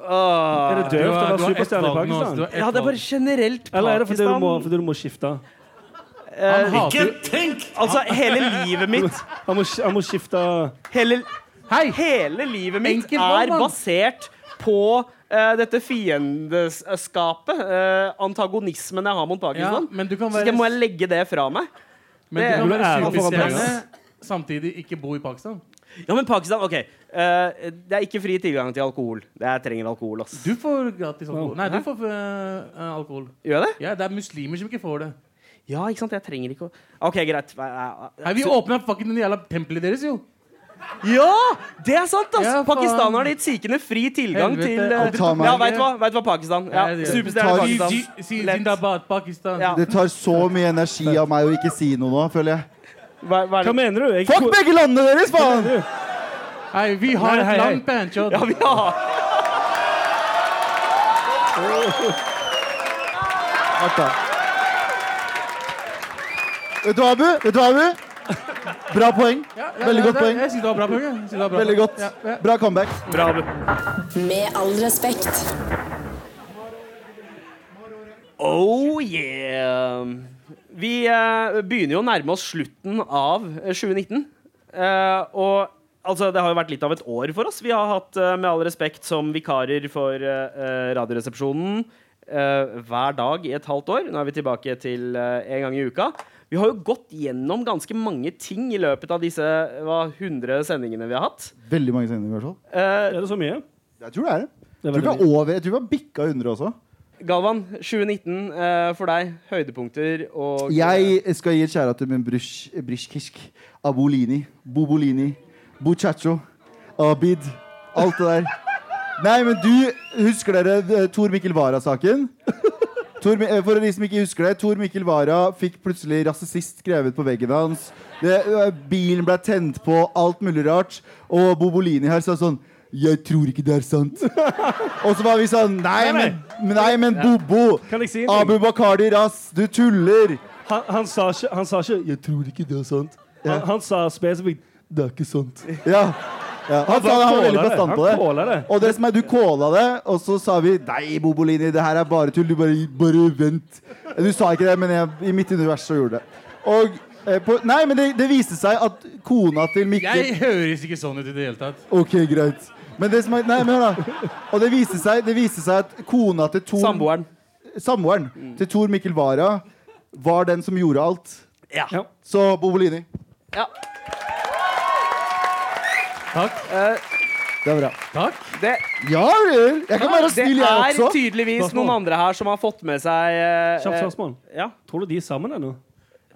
Speaker 6: åh.
Speaker 7: Er det
Speaker 8: Du
Speaker 7: døvt
Speaker 8: har-
Speaker 7: å være
Speaker 8: du har ett
Speaker 7: superstjerne i
Speaker 8: valg nå, altså. Du
Speaker 7: Pakistan?
Speaker 8: har ett
Speaker 6: Ja, det er
Speaker 8: valg.
Speaker 6: bare generelt Pakistan. Eh,
Speaker 7: Eller er det fordi du må, fordi du må skifte?
Speaker 8: Han hater jo
Speaker 6: Altså, hele livet mitt
Speaker 7: Han må, han må skifte
Speaker 6: Hele, hele livet mitt
Speaker 8: Enkelt valg,
Speaker 6: er
Speaker 8: mann.
Speaker 6: basert på eh, dette fiendeskapet. eh, antagonismen jeg har mot
Speaker 8: ja,
Speaker 6: Pakistan.
Speaker 8: men du kan
Speaker 6: sånn. Så skal
Speaker 8: være,
Speaker 6: jeg, må jeg legge det fra meg?
Speaker 8: men
Speaker 6: det-
Speaker 8: du kan
Speaker 7: Du er
Speaker 8: være
Speaker 7: æren for å være
Speaker 8: superstjerne samtidig ikke bo i Pakistan.
Speaker 6: Ja, men Pakistan, ok eh, Det er ikke fri tilgang til alkohol. Jeg trenger alkohol, ass.
Speaker 8: Du får gratis alkohol. Nei, du får øh, alkohol.
Speaker 6: Gjør jeg det?
Speaker 8: Ja, Det er muslimer som ikke får det.
Speaker 6: Ja, ikke sant? Jeg trenger ikke å OK, greit. Hva-
Speaker 8: Nei, Vi åpna fucking den jævla tempelet deres, jo.
Speaker 6: Ja! Det er sant, ass!
Speaker 8: Ja, faen.
Speaker 6: Pakistanerne har gitt sikene fri tilgang
Speaker 8: Helvete,
Speaker 6: til eh,
Speaker 8: aldri
Speaker 3: Ta meg.
Speaker 6: Ja, veit du hva? Vet du hva, Pakistan. Ja,
Speaker 8: Ja, det-
Speaker 6: Superstjerne
Speaker 3: Ta-
Speaker 8: Si-
Speaker 6: Pakistan.
Speaker 8: si- si-
Speaker 6: Lett.
Speaker 8: Zindabad, Pakistan.
Speaker 6: Ja.
Speaker 3: Det tar så mye energi av meg å ikke si noe nå, føler jeg.
Speaker 6: Hva, hva er det?
Speaker 7: Hva mener du? Jeg,
Speaker 3: Fuck begge landene deres, faen!
Speaker 8: Hei, vi har
Speaker 7: Nei, hei,
Speaker 8: et
Speaker 7: hei.
Speaker 8: land, Pancho.
Speaker 6: Ja, vi har
Speaker 3: Vent da. Vet du hva, Abu? Vet du hva, Abu? Bra poeng. Veldig godt poeng.
Speaker 8: Jeg synes det var bra poeng. jeg. Jeg synes det var bra
Speaker 3: Veldig
Speaker 8: poeng.
Speaker 3: godt.
Speaker 8: Ja, ja.
Speaker 3: Bra comeback.
Speaker 2: Med all respekt.
Speaker 6: Oh yeah! Vi eh, begynner jo å nærme oss slutten av eh, 2019. Eh, og altså, det har jo vært litt av et år for oss. Vi har hatt, eh, med all respekt, som vikarer for eh, eh, Radioresepsjonen eh, hver dag i et halvt år. Nå er vi tilbake til eh, en gang i uka. Vi har jo gått gjennom ganske mange ting i løpet av disse hva, 100 sendingene vi har hatt.
Speaker 3: Veldig mange sendinger, i hvert fall.
Speaker 6: Eh,
Speaker 7: er det så mye?
Speaker 3: Jeg tror det er det.
Speaker 7: Det er
Speaker 3: Jeg tror vi
Speaker 7: veldig
Speaker 3: har over, jeg tror vi har bikka 100 også.
Speaker 6: Galvan, 2019 eh, for deg. Høydepunkter og
Speaker 7: eh,
Speaker 3: Jeg skal gi et kjære til min brysj- brysjkisk. Abolini. Bobolini. Buchacho. Abid. Alt det der. Nei, men du Husker dere eh, Tor Mikkel Wara-saken? Tor, Mi- eh, for de som ikke husker det, Tor Mikkel Wara fikk plutselig rasist skrevet på veggen hans. Det, eh, bilen ble tent på, alt mulig rart. Og Bobolini her sa sånn Jeg tror ikke det er sant. Og så var vi sånn Nei, men, nei, men Bobo!
Speaker 7: Kan jeg si en ting?
Speaker 3: Abu Bakari Ras, du tuller!
Speaker 7: Han, han, sa ikke, han sa ikke 'jeg tror ikke det er sant'. Han, han sa spesifikt 'det er ikke sant'.
Speaker 3: Ja. ja. Han sa det, han var veldig bestand på
Speaker 7: Han
Speaker 3: det.
Speaker 7: kåla det.
Speaker 3: Og det som er, du kåla det, og så sa vi Nei, Bobolini, det her er bare tull. Du bare, bare vent. Du sa ikke det, men jeg, i mitt univers så gjorde det. Og Eh, på, nei, men det, det viste seg at kona til Mikkel
Speaker 8: Jeg høres ikke sånn ut i det hele tatt.
Speaker 3: Ok, greit. Men det som er, nei, men hør da. Og det viste seg, det viste seg at kona til Tor
Speaker 6: eh, Samboeren.
Speaker 3: Samboeren til Tor Mikkel Wara var den som gjorde alt.
Speaker 6: Ja.
Speaker 7: Ja.
Speaker 3: Så Bobolini.
Speaker 6: Ja.
Speaker 8: Takk.
Speaker 3: Det er bra.
Speaker 8: Takk.
Speaker 6: Eh. Det,
Speaker 3: Ja vel! Jeg kan være
Speaker 6: det
Speaker 3: snill,
Speaker 6: er
Speaker 3: jeg også.
Speaker 6: tydeligvis
Speaker 7: Spørsmål.
Speaker 6: noen andre her som har fått med seg eh,
Speaker 7: Kjapt spørsmål.
Speaker 6: eh, Ja.
Speaker 7: Tror du de er sammen ennå?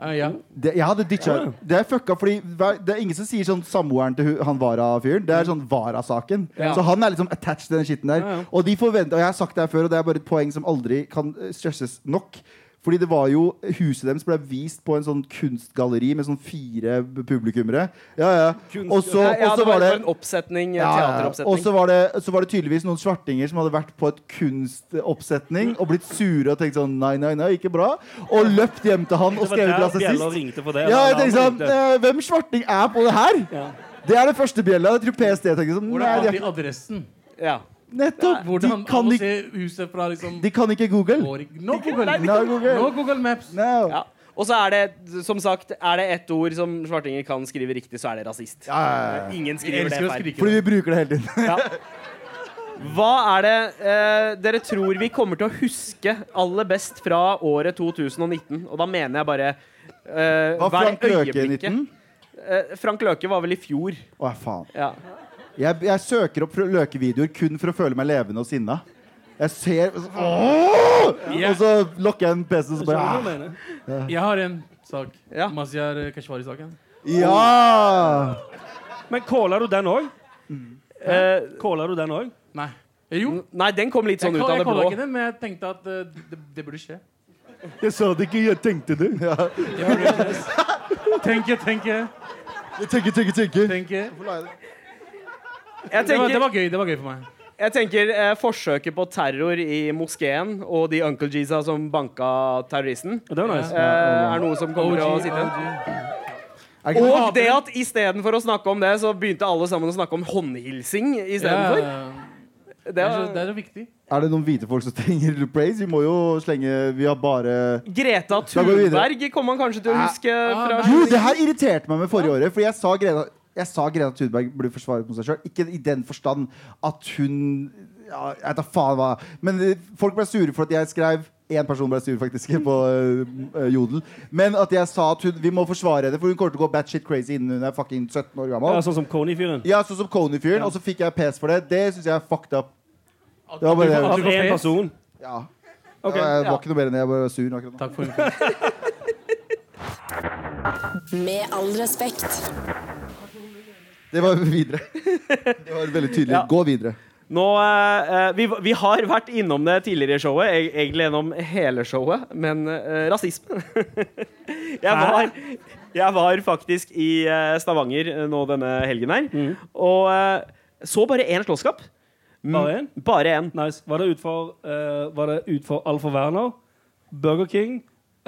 Speaker 8: Eh, ja.
Speaker 3: Det, jeg hadde ditcha. Det er fucka, fordi hver- det er ingen som sier sånn samboeren til hu- han Wara-fyren. Det er sånn Wara-saken.
Speaker 6: Ja.
Speaker 3: Så han er liksom attached til den skitten der.
Speaker 7: Ja, ja.
Speaker 3: Og de forventer, og jeg har sagt det her før, og det er bare et poeng som aldri kan eh, stresses nok. Fordi det var jo, Huset deres ble vist på en sånn kunstgalleri med sånn fire publikummere. Ja, ja. Og så,
Speaker 6: Nei, ja,
Speaker 3: og så
Speaker 6: det var
Speaker 3: var det
Speaker 6: bare en oppsetning. eh,
Speaker 3: ja, ja. Og
Speaker 6: Teateroppsetning.
Speaker 3: så var, det, så var det tydeligvis noen svartinger som hadde vært på et kunstoppsetning og blitt sure og tenkt sånn nei, nei, nei, ikke bra. Og løpt hjem til han og skrevet rasist.
Speaker 7: ringte for det.
Speaker 3: Ja, jeg tenkte sånn, eh, Hvem svarting er på det her?
Speaker 7: Ja.
Speaker 3: Det er det første bjella. Jeg tror PST tenkte sånn
Speaker 8: Hvordan
Speaker 3: Nei,
Speaker 8: fant
Speaker 3: de,
Speaker 8: de adressen?
Speaker 6: Ja.
Speaker 3: eh, nettopp! De
Speaker 8: Hvordan
Speaker 3: kan,
Speaker 8: å
Speaker 3: ikke,
Speaker 8: se huset fra liksom
Speaker 3: de kan ikke Google.
Speaker 8: Går ikke- No Google.
Speaker 3: Nei, Google.
Speaker 8: No Google Maps.
Speaker 3: No.
Speaker 6: Ja. Og så er det, som sagt, er det ett ord som svartinger kan skrive riktig, så er det rasist. Eh, Ingen
Speaker 8: Jeg
Speaker 6: skriver det
Speaker 8: elsker å
Speaker 6: feil.
Speaker 8: skrike.
Speaker 3: Fordi vi bruker det hele tiden.
Speaker 6: Hva er det eh, dere tror vi kommer til å huske aller best fra året 2019? Og da mener jeg bare eh,
Speaker 3: Var
Speaker 6: hver
Speaker 3: Frank Løke i
Speaker 6: øyeblikket.
Speaker 3: 19?
Speaker 6: Eh, Frank Løke var vel i fjor.
Speaker 3: Å, faen.
Speaker 6: Ja.
Speaker 3: Jeg, jeg søker opp Løke-videoer kun for å føle meg levende og sinna. Jeg ser Åh! Og så lokker jeg en PC og så bare ah.
Speaker 8: Jeg har en sak.
Speaker 6: Ja.
Speaker 8: Mazyar eh, Keshvari-saken.
Speaker 3: ah, Ja!
Speaker 7: Men calla du den òg?
Speaker 6: Eh,
Speaker 7: Calla du den òg?
Speaker 8: Nei. Eh, Jo.
Speaker 6: nei, den kom litt sånn
Speaker 8: jeg
Speaker 6: ut av
Speaker 8: jeg
Speaker 6: det
Speaker 8: kaller
Speaker 6: blå.
Speaker 8: ikke den, men jeg tenkte at eh, det, det burde skje.
Speaker 3: Jeg sa det ikke, jeg tenkte det. Ja.
Speaker 8: Tenke, tenke,
Speaker 3: Jeg tenker, tenker, tenker.
Speaker 8: tenke.
Speaker 6: Jeg
Speaker 8: Det var, det
Speaker 6: tenker,
Speaker 8: var gøy det var gøy for meg.
Speaker 6: jeg tenker eh, forsøket på terror i moskeen og de Uncle Jisa som banka terroristen,
Speaker 7: Det var nice.
Speaker 6: eh, er noe som kommer til å sitte igjen.
Speaker 3: Er ikke
Speaker 6: Og det at istedenfor å snakke om det, så begynte alle sammen å snakke om håndhilsing
Speaker 8: Ja,
Speaker 6: istedenfor.
Speaker 8: ja, ja.
Speaker 6: Det
Speaker 8: Det er så-
Speaker 6: var
Speaker 8: det er så viktig.
Speaker 3: Er det noen hvite folk som trenger praise? Vi må jo slenge Vi har bare
Speaker 6: Greta
Speaker 3: går vi videre.
Speaker 6: Thunberg kommer man kanskje til å huske
Speaker 8: Ah,
Speaker 6: fra
Speaker 3: Jo, det her irriterte meg med forrige året, fordi jeg sa Greta jeg sa Greta Thunberg burde forsvare mot seg sjøl. Ikke i den forstand at hun ja, Jeg vet da faen hva. Men eh, folk ble sure for at jeg skrev Én person ble sur faktisk på eh, eh, Jodel. Men at jeg sa at hun, vi må forsvare henne, for hun kommer til å gå batshit crazy innen hun er fucking 17 år gammel.
Speaker 7: Ja, sånn som Coney-fyren.
Speaker 3: Ja, sånn som Coney-fyren. Og så fikk jeg pes for det. Det syns jeg er fucked up. Det var
Speaker 8: Du
Speaker 3: bare
Speaker 8: får-
Speaker 3: det.
Speaker 7: Av
Speaker 8: du får
Speaker 7: én
Speaker 8: pes.
Speaker 7: person.
Speaker 3: Ja.
Speaker 7: Ok,
Speaker 3: jeg
Speaker 6: ja.
Speaker 3: var ikke noe mer enn det. Jeg bare var sur akkurat nå.
Speaker 8: Takk for info.
Speaker 2: Med all respekt.
Speaker 3: Det var videre. Det var veldig tydelig.
Speaker 6: Ja.
Speaker 3: Gå videre.
Speaker 6: Nå, eh, eh, vi, vi har vært innom det tidligere i showet, eg- egentlig gjennom hele showet, men eh, rasisme. jeg, var, jeg var faktisk i eh, Stavanger eh, nå denne helgen her,
Speaker 7: Mm.
Speaker 6: og eh, så bare én slåsskamp.
Speaker 7: Bare én?
Speaker 6: Bare én.
Speaker 7: Nice. Var det utfor uh, Var det utfor Alfa Werner, Burger King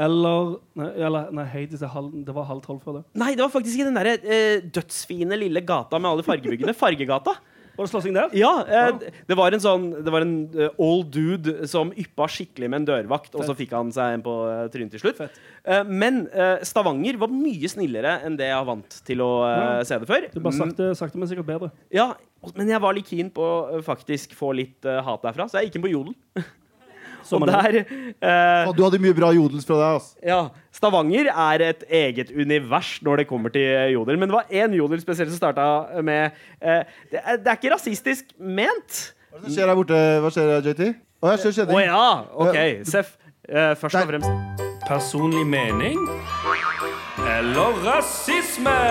Speaker 7: eller Nei, eller, nei hei, det, er halv, det var halv tolv før det.
Speaker 6: Nei, det var faktisk i den derre eh, dødsfine lille gata med alle fargebyggene. Fargegata.
Speaker 7: Var det slåssing der?
Speaker 6: Ja, eh, det var en sånn Det var en eh, old dude som yppa skikkelig med en dørvakt, og så fikk han seg en på eh, trynet til slutt. Eh, men eh, Stavanger var mye snillere enn det jeg var vant til å eh,
Speaker 7: Ja.
Speaker 6: se det før.
Speaker 7: Du bare sakte, sakte men sikkert bedre.
Speaker 6: Mm, Ja, men jeg var litt keen på å eh, faktisk få litt eh, hat derfra, så jeg gikk inn på Jodel.
Speaker 7: Som
Speaker 6: og
Speaker 7: man gjør.
Speaker 6: der eh,
Speaker 3: Å, Du hadde mye bra jodels fra deg. ass.
Speaker 6: ja, Stavanger er et eget univers når det kommer til eh, jodel. Men det var én jodel spesielt som starta med eh, det, er, det er ikke rasistisk ment.
Speaker 3: Hva er det som skjer her borte? Hva skjer, JT? Å, jeg ser
Speaker 6: Å
Speaker 3: kjenning.
Speaker 6: ja! OK. Seff. eh, først og
Speaker 3: Der.
Speaker 6: fremst
Speaker 9: Personlig mening eller rasisme?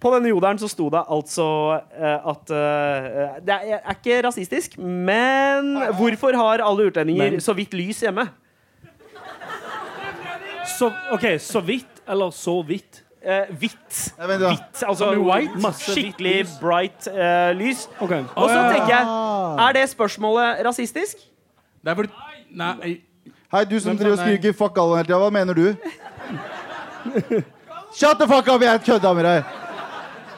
Speaker 6: På denne jodelen så sto det altså eh, at eh, Det er, er ikke rasistisk, men hvorfor har alle utlendinger
Speaker 7: Men.
Speaker 6: så vidt lys hjemme?
Speaker 7: Så, OK, så vidt eller så vidt?
Speaker 6: Eh, hvitt.
Speaker 3: Nei, vent, da.
Speaker 6: Hvitt, altså
Speaker 7: Masse hvitt
Speaker 6: skikkelig
Speaker 7: lys.
Speaker 6: bright eh, lys.
Speaker 7: OK.
Speaker 6: Og så tenker jeg, er det spørsmålet rasistisk?
Speaker 8: Det er fordi Nei.
Speaker 3: Hei, du som
Speaker 8: Hvem
Speaker 3: driver og
Speaker 8: sa nei?
Speaker 3: skriker 'fuck alle' hele tida. Hva mener du? Shut the fuck up! Jeg kødda med deg.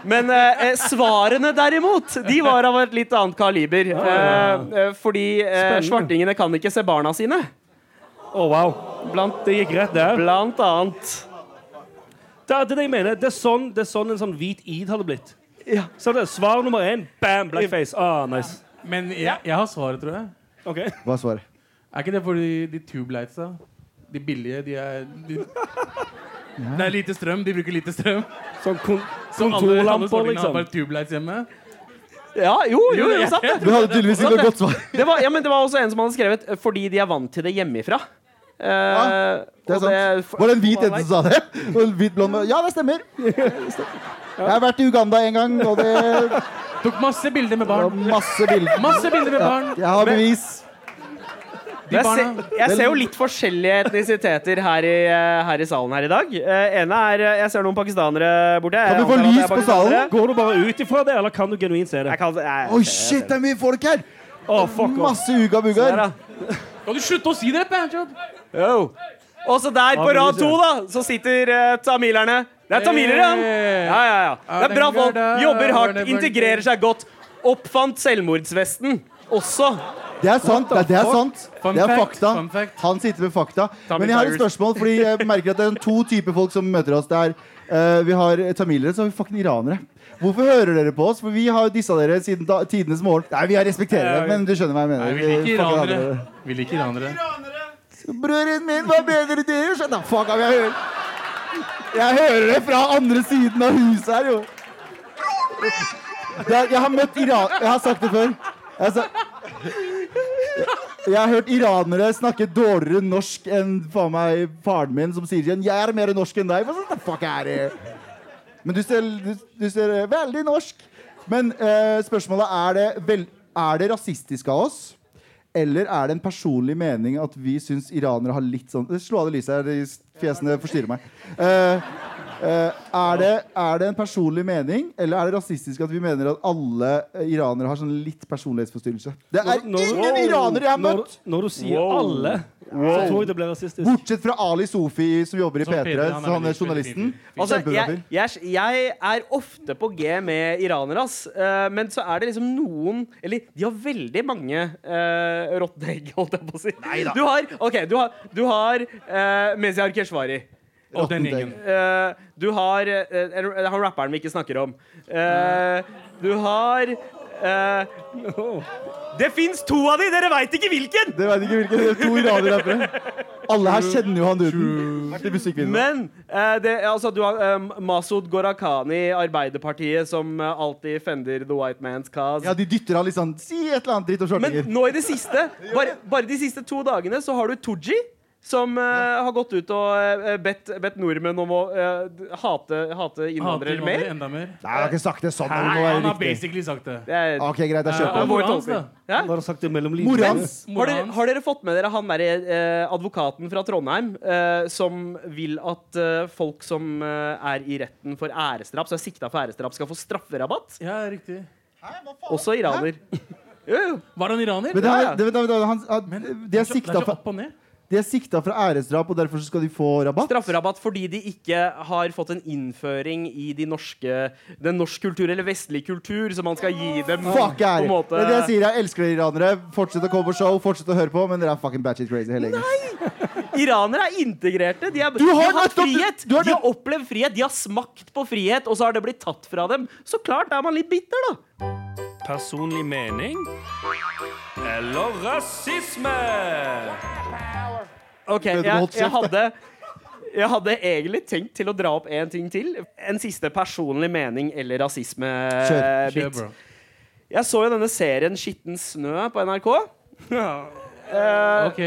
Speaker 6: Men eh, eh, svarene derimot, de var av et litt annet kaliber. Eh, eh, fordi eh,
Speaker 7: Spennende.
Speaker 6: svartingene kan ikke se barna sine.
Speaker 7: Å, wow.
Speaker 6: Blant,
Speaker 9: Det gikk rett der.
Speaker 6: blant annet.
Speaker 9: Det er det jeg mener. Det er sånn, det er sånn en sånn hvit id hadde blitt.
Speaker 6: Ja.
Speaker 9: Så det er svar nummer én. Bam, blackface. Ah, nice.
Speaker 8: Men jeg, jeg har svaret, tror jeg.
Speaker 9: Ok.
Speaker 3: Hva er svaret?
Speaker 8: Er ikke det fordi de tubelightsa? De billige, de er de... Det er lite strøm. De bruker lite strøm.
Speaker 9: Sånn kon
Speaker 8: Så alle, alle
Speaker 9: kontorlamper,
Speaker 8: stortingene har
Speaker 9: liksom.
Speaker 8: bare tubelights hjemme.
Speaker 6: ja, jo, jo, jo, sant det.
Speaker 3: Du hadde tydeligvis ikke noe godt svar.
Speaker 6: Det var, ja, men det var også en som hadde skrevet eh, 'fordi de er vant til det hjemmefra'. Eh,
Speaker 3: Det er
Speaker 6: og
Speaker 3: sant. Var det en hvit jente som sa det? Og en hvit blond mann. Ja, det stemmer. Jeg har vært i Uganda en gang, og det
Speaker 8: Tok masse bilder med
Speaker 3: var
Speaker 8: barn.
Speaker 3: masse bilder.
Speaker 8: Masse bilder med barn.
Speaker 3: Jeg har bevis.
Speaker 6: jeg,
Speaker 8: barna.
Speaker 6: ser, jeg ser jo litt forskjellige etnisiteter her i, eh, her i salen her i dag. Eh, ene er eh, Jeg ser noen pakistanere borte. Jeg
Speaker 3: Kan du få
Speaker 6: antar at jeg
Speaker 3: lys
Speaker 6: er
Speaker 3: på salen?
Speaker 6: pakistanere.
Speaker 9: Går du bare ut ifra det, eller kan du genuint se det?
Speaker 6: Jeg kan, jeg,
Speaker 3: Oi, shit, det er mye folk her!
Speaker 9: Å, fuck off.
Speaker 3: Masse uga-bugaer.
Speaker 6: Der, da.
Speaker 8: Kan du slutte å si det, Panchob?
Speaker 6: Yo. Og så der på rad to, da, så sitter eh, tamilerne. Det er tamilere, han! Ja, ja, ja. Det er bra folk. Jobber hardt, integrerer seg godt. Oppfant selvmordsvesten også.
Speaker 3: Det er sant. Det er, det er sant.
Speaker 8: Fun
Speaker 3: Det er
Speaker 8: fact,
Speaker 3: fakta.
Speaker 8: fun fact.
Speaker 3: Han sitter med fakta.
Speaker 6: Tamil
Speaker 3: Men jeg har et
Speaker 6: Tigers.
Speaker 3: spørsmål, fordi jeg merker at det er to typer folk som møter oss. Det er, eh, vi har tamilere, så har vi fucking iranere. Hvorfor hører dere på oss? For vi har jo dissa dere siden da, tidenes morgen. Nei, vi har respekterer dere, men du skjønner hva jeg mener.
Speaker 8: Nei, vi liker
Speaker 3: fucker
Speaker 8: iranere. Vi liker iranere.
Speaker 3: Brødren min, hva mener du? Skjønner sånn. fuck av jeg hører. Jeg hører det fra andre siden av huset her, jo. Det er, jeg har møtt Iran... Jeg har sagt det før. Jeg har, sa- jeg har hørt iranere snakke dårligere norsk enn faen meg faren min, som sier igjen 'Jeg er mer norsk enn deg'. Hva sånn, the fuck er det? Men du ser, du, du ser eh, veldig norsk. Men eh, spørsmålet er det, vel, er det rasistisk av oss? Eller er det en personlig mening at vi syns iranere har litt sånn Slå av det lyset her, de fjesene forstyrrer meg. Eh, eh, er, det, er det en personlig mening, eller er det rasistisk at vi mener at alle eh, iranere har sånn litt personlighetsforstyrrelse? Det er
Speaker 9: Når- når-
Speaker 3: ingen iranere jeg har
Speaker 9: når-
Speaker 3: møtt!
Speaker 9: Når du sier
Speaker 6: Wow.
Speaker 9: alle, så tror jeg det blir rasistisk.
Speaker 3: Bortsett fra Ali Sofi, som jobber i
Speaker 8: Som
Speaker 3: P3.
Speaker 8: P3, han er
Speaker 3: så han er
Speaker 8: veldig-
Speaker 3: journalisten.
Speaker 6: Altså,
Speaker 3: Kjempebra
Speaker 6: jeg,
Speaker 3: fyr.
Speaker 6: jeg, jeg er ofte på G med iranere, ass. Eh, men så er det liksom noen Eller de har veldig mange uh, råtne egg, holdt jeg på å si. Du har, ok, du har, du har eh, Mezyar Keshvari.
Speaker 8: Og den gjengen.
Speaker 6: Eh, du har eh, en- Han rapperen vi ikke snakker om. Eh, du har eh, Det fins to av de, dere veit ikke hvilken!
Speaker 3: Det veit ikke hvilken. det er To iranere herfra. Alle her kjenner jo han duden. Vært i musikkvideoen.
Speaker 6: Men eh, det, altså, du har eh, Masud Ghorakhani, Arbeiderpartiet, som eh, alltid fender the white man's cause.
Speaker 3: Ja, de dytter han litt sånn Si et eller annet dritt om
Speaker 6: Men
Speaker 3: shortinger.
Speaker 6: nå i det siste, bare, bare de siste to dagene, så har du Tooji. Som eh, har gått ut og eh, bedt, bedt nordmenn om å eh, d- hate, hate
Speaker 8: Hater
Speaker 6: innvandrere
Speaker 8: innvandrere
Speaker 6: mer.
Speaker 8: enda mer.
Speaker 3: Nei, jeg har ikke sagt det sånn.
Speaker 8: Nei,
Speaker 3: Det
Speaker 8: han
Speaker 3: må
Speaker 8: har
Speaker 3: være riktig.
Speaker 8: basically sagt det.
Speaker 6: Det er,
Speaker 3: Ok, greit, jeg
Speaker 8: Ja,
Speaker 6: det
Speaker 3: kjøper
Speaker 6: er
Speaker 3: den.
Speaker 6: vår
Speaker 8: moren hans,
Speaker 6: tolkning.
Speaker 8: da.
Speaker 6: Ja?
Speaker 9: Hva har du sagt det mellom
Speaker 3: Mora
Speaker 9: linjene?
Speaker 3: hans!
Speaker 6: Har dere, har dere fått med dere han derre eh, advokaten fra Trondheim eh, som vil at eh, folk som eh, er i retten for æresdrap, som er sikta for æresdrap, skal få strafferabatt?
Speaker 8: Ja, riktig.
Speaker 6: Også iraner. Jo, jo.
Speaker 8: Var han iraner?
Speaker 3: Men det,
Speaker 6: Ja, ja.
Speaker 3: er, det, det, det, han, han, de, er
Speaker 8: så- det
Speaker 3: sikta
Speaker 8: er så
Speaker 3: for,
Speaker 8: opp og ned.
Speaker 3: de er sikta for æresdrap, og derfor så skal de få rabatt?
Speaker 6: Strafferabatt fordi de ikke har fått en innføring i de norske, den norsk kultur eller vestlig kultur som man skal gi dem.
Speaker 3: Fuck
Speaker 6: på en
Speaker 3: er det.
Speaker 6: måte.
Speaker 3: er det jeg sier. Jeg elsker dere iranere. Fortsett å komme på show, fortsett å høre på, men dere er fucking batchet crazy hele gjengen.
Speaker 6: Iranere er integrerte. De, er,
Speaker 3: har
Speaker 6: de har hatt
Speaker 3: nettopp-
Speaker 6: frihet.
Speaker 3: du har
Speaker 6: de har opplevd frihet, de har smakt på frihet, og så har det blitt tatt fra dem. Så klart er man litt bitter, da.
Speaker 9: Personlig mening eller rasisme?
Speaker 6: Ok, jeg,
Speaker 3: du holdt
Speaker 6: jeg,
Speaker 3: kjeft,
Speaker 6: hadde, jeg hadde egentlig tenkt til å dra opp en ting til. En siste personlig mening eller
Speaker 3: Kjør.
Speaker 8: Kjør,
Speaker 6: rasisme-bit.
Speaker 8: bro.
Speaker 6: Jeg så jo denne serien 'Skitten snø' på NRK. Eh,
Speaker 8: OK.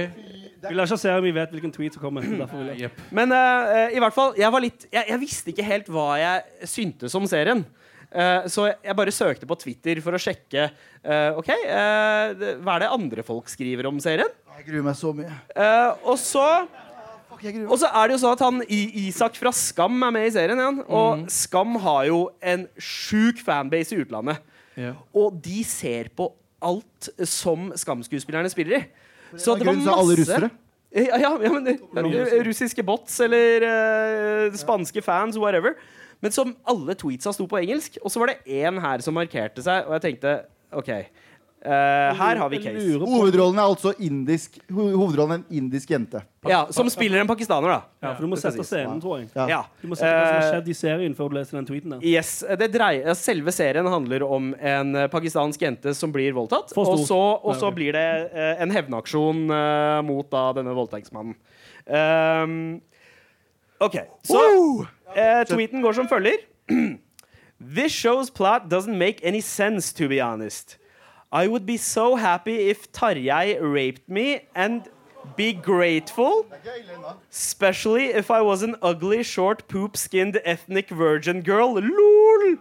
Speaker 9: Vi lar ikke se om vi vet hvilken tweet som kommer. Derfor vil jeg.
Speaker 8: Jepp.
Speaker 6: Men eh, eh, i hvert fall, jeg var litt jeg, jeg visste ikke helt hva jeg syntes om serien. Eh, så jeg bare søkte på Twitter for å sjekke eh, OK, eh, det- hva er det andre folk skriver om serien.
Speaker 3: Jeg gruer meg så mye.
Speaker 6: Eh, og så
Speaker 3: Fuck, jeg gruer meg.
Speaker 6: Og så er det jo sånn at han I Isak fra Skam er med i serien igjen. Og Skam har jo en sjuk fanbase i utlandet.
Speaker 8: Ja.
Speaker 6: Og de ser på alt som Skam-skuespillerne spiller i. Så
Speaker 3: Av grunnen så er alle russere.
Speaker 6: Ja, ja, ja, men eh, Russiske bots eller eh, spanske fans, whatever. Men som alle tweetsa sto på engelsk. Og så var det én her som markerte seg, og jeg tenkte OK. Eh, her har vi case.
Speaker 3: Hovedrollen er altså indisk. Ho- Hovedrollen er en indisk jente.
Speaker 6: Ja, som spiller en pakistaner, da.
Speaker 7: Ja, for du må sette scenen, tror jeg.
Speaker 3: Ja.
Speaker 6: Ja.
Speaker 7: Du må sette hva som har
Speaker 6: Eh,
Speaker 7: skjedd i serien før du leser den tweeten der.
Speaker 6: Yes, det dreier, Selve serien handler om en eh, pakistansk jente som blir voldtatt.
Speaker 7: For stor.
Speaker 6: Og så, og så
Speaker 7: Nei, ok.
Speaker 6: blir det eh, en hevnaksjon eh, mot da, denne voldtektsmannen. Ehm, OK, så eh, tweeten går som følger. This show's plot doesn't make any sense, to be honest. I would be so happy if Tarjei raped me and be grateful Especially if I was an ugly, short, poop skinned ethnic virgin girl. LOL!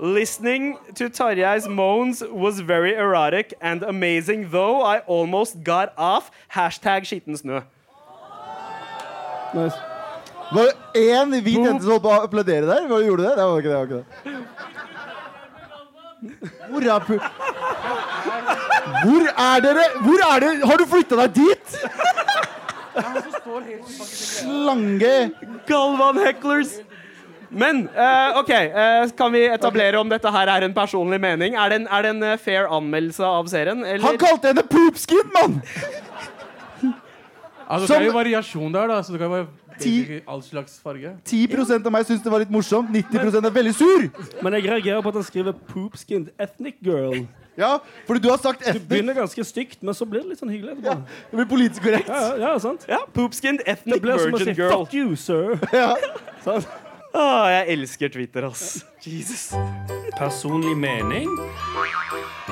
Speaker 6: Listening to Tarjei's moans was very erotic and amazing, though I almost got off. Hashtag skitten snø.
Speaker 7: Nice.
Speaker 3: Det var én hvit jente som holdt på å applaudere der. Hva gjorde du det? Det var ikke det. det, var ikke det. Hvor er pu... Hvor er dere? Hvor er dere? Har du flytta deg dit? Slange.
Speaker 6: Galvan hecklers! Men eh, OK, eh, kan vi etablere om dette her er en personlig mening? Er det en, er det en eh, fair anmeldelse av serien? Eller?
Speaker 3: Han kalte henne poopskin, mann!
Speaker 8: Altså,
Speaker 3: Som-
Speaker 8: Det er jo variasjon der, da. Så det kan jo være
Speaker 3: Ti-
Speaker 8: all slags farge.
Speaker 3: 10 av meg syns det var litt morsomt. 90 er veldig sur.
Speaker 7: Men jeg reagerer på at han skriver 'poopskinned ethnic girl'.
Speaker 3: Ja, fordi du har sagt
Speaker 7: Det
Speaker 3: ethnic.
Speaker 7: begynner ganske stygt, men så blir det litt sånn hyggelig etterpå.
Speaker 3: Det blir politisk korrekt.
Speaker 7: Ja, ja, ja sant?
Speaker 6: ja, poopskinned
Speaker 7: Det
Speaker 6: ethnic
Speaker 7: blir som å si
Speaker 6: virgin girl.
Speaker 7: 'fuck you, sir'.
Speaker 3: Ja.
Speaker 7: Sant?
Speaker 6: Åh, jeg elsker Twitter, ass. Jesus.
Speaker 9: Personlig mening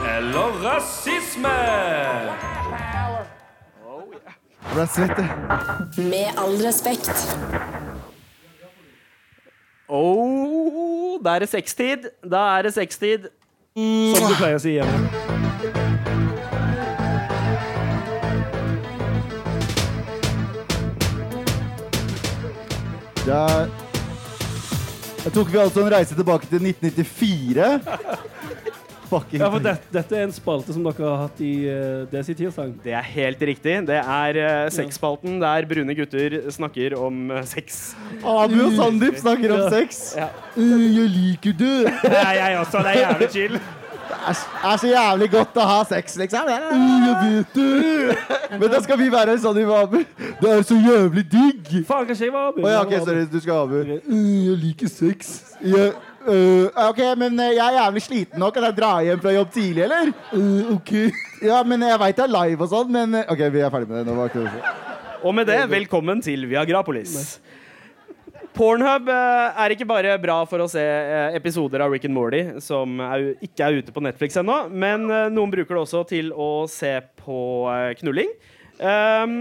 Speaker 9: eller rasisme?
Speaker 3: Jeg ble svett, jeg.
Speaker 2: Med all respekt.
Speaker 6: Oh, da er det sekstid. Da er det sekstid.
Speaker 7: Som du pleier å si hjemme.
Speaker 3: Da Da tok vi altså en reise tilbake til 1994. Fucking
Speaker 7: Ja, for det, dette er en spalte som dere har hatt i uh, Desi Tirsdag.
Speaker 6: Det er helt riktig. Det er uh, sexspalten der brune gutter snakker om eh, sex.
Speaker 3: Abu og Sandeep snakker om sex.
Speaker 6: Ja.
Speaker 3: Øh, Jeg liker det.
Speaker 6: Det er jeg også. Det er jævlig chill.
Speaker 3: Det er så jævlig godt å ha sex, liksom. Øh, Jeg vet det. Men da skal vi være Sandeep og Abu. Det er så jævlig digg.
Speaker 7: Faen, kanskje jeg var Abu?
Speaker 3: Å ja, OK, sorry. Du skal ha Abu. Øh, Jeg liker sex. Jeg, øh, OK, men øh, jeg er jævlig sliten nå. Kan jeg dra hjem fra jobb tidlig, eller? Øh, OK. Ja, men øh, jeg veit det er live og sånn, men øh, OK, vi er ferdig med det. Nå var ikke det.
Speaker 6: Og med det, velkommen til Viagrapolis. Pornhub eh, er ikke bare bra for å se eh, episoder av Rick and Morty, som er, ikke er ute på Netflix ennå, men eh, noen bruker det også til å se på eh, knulling. Ehm,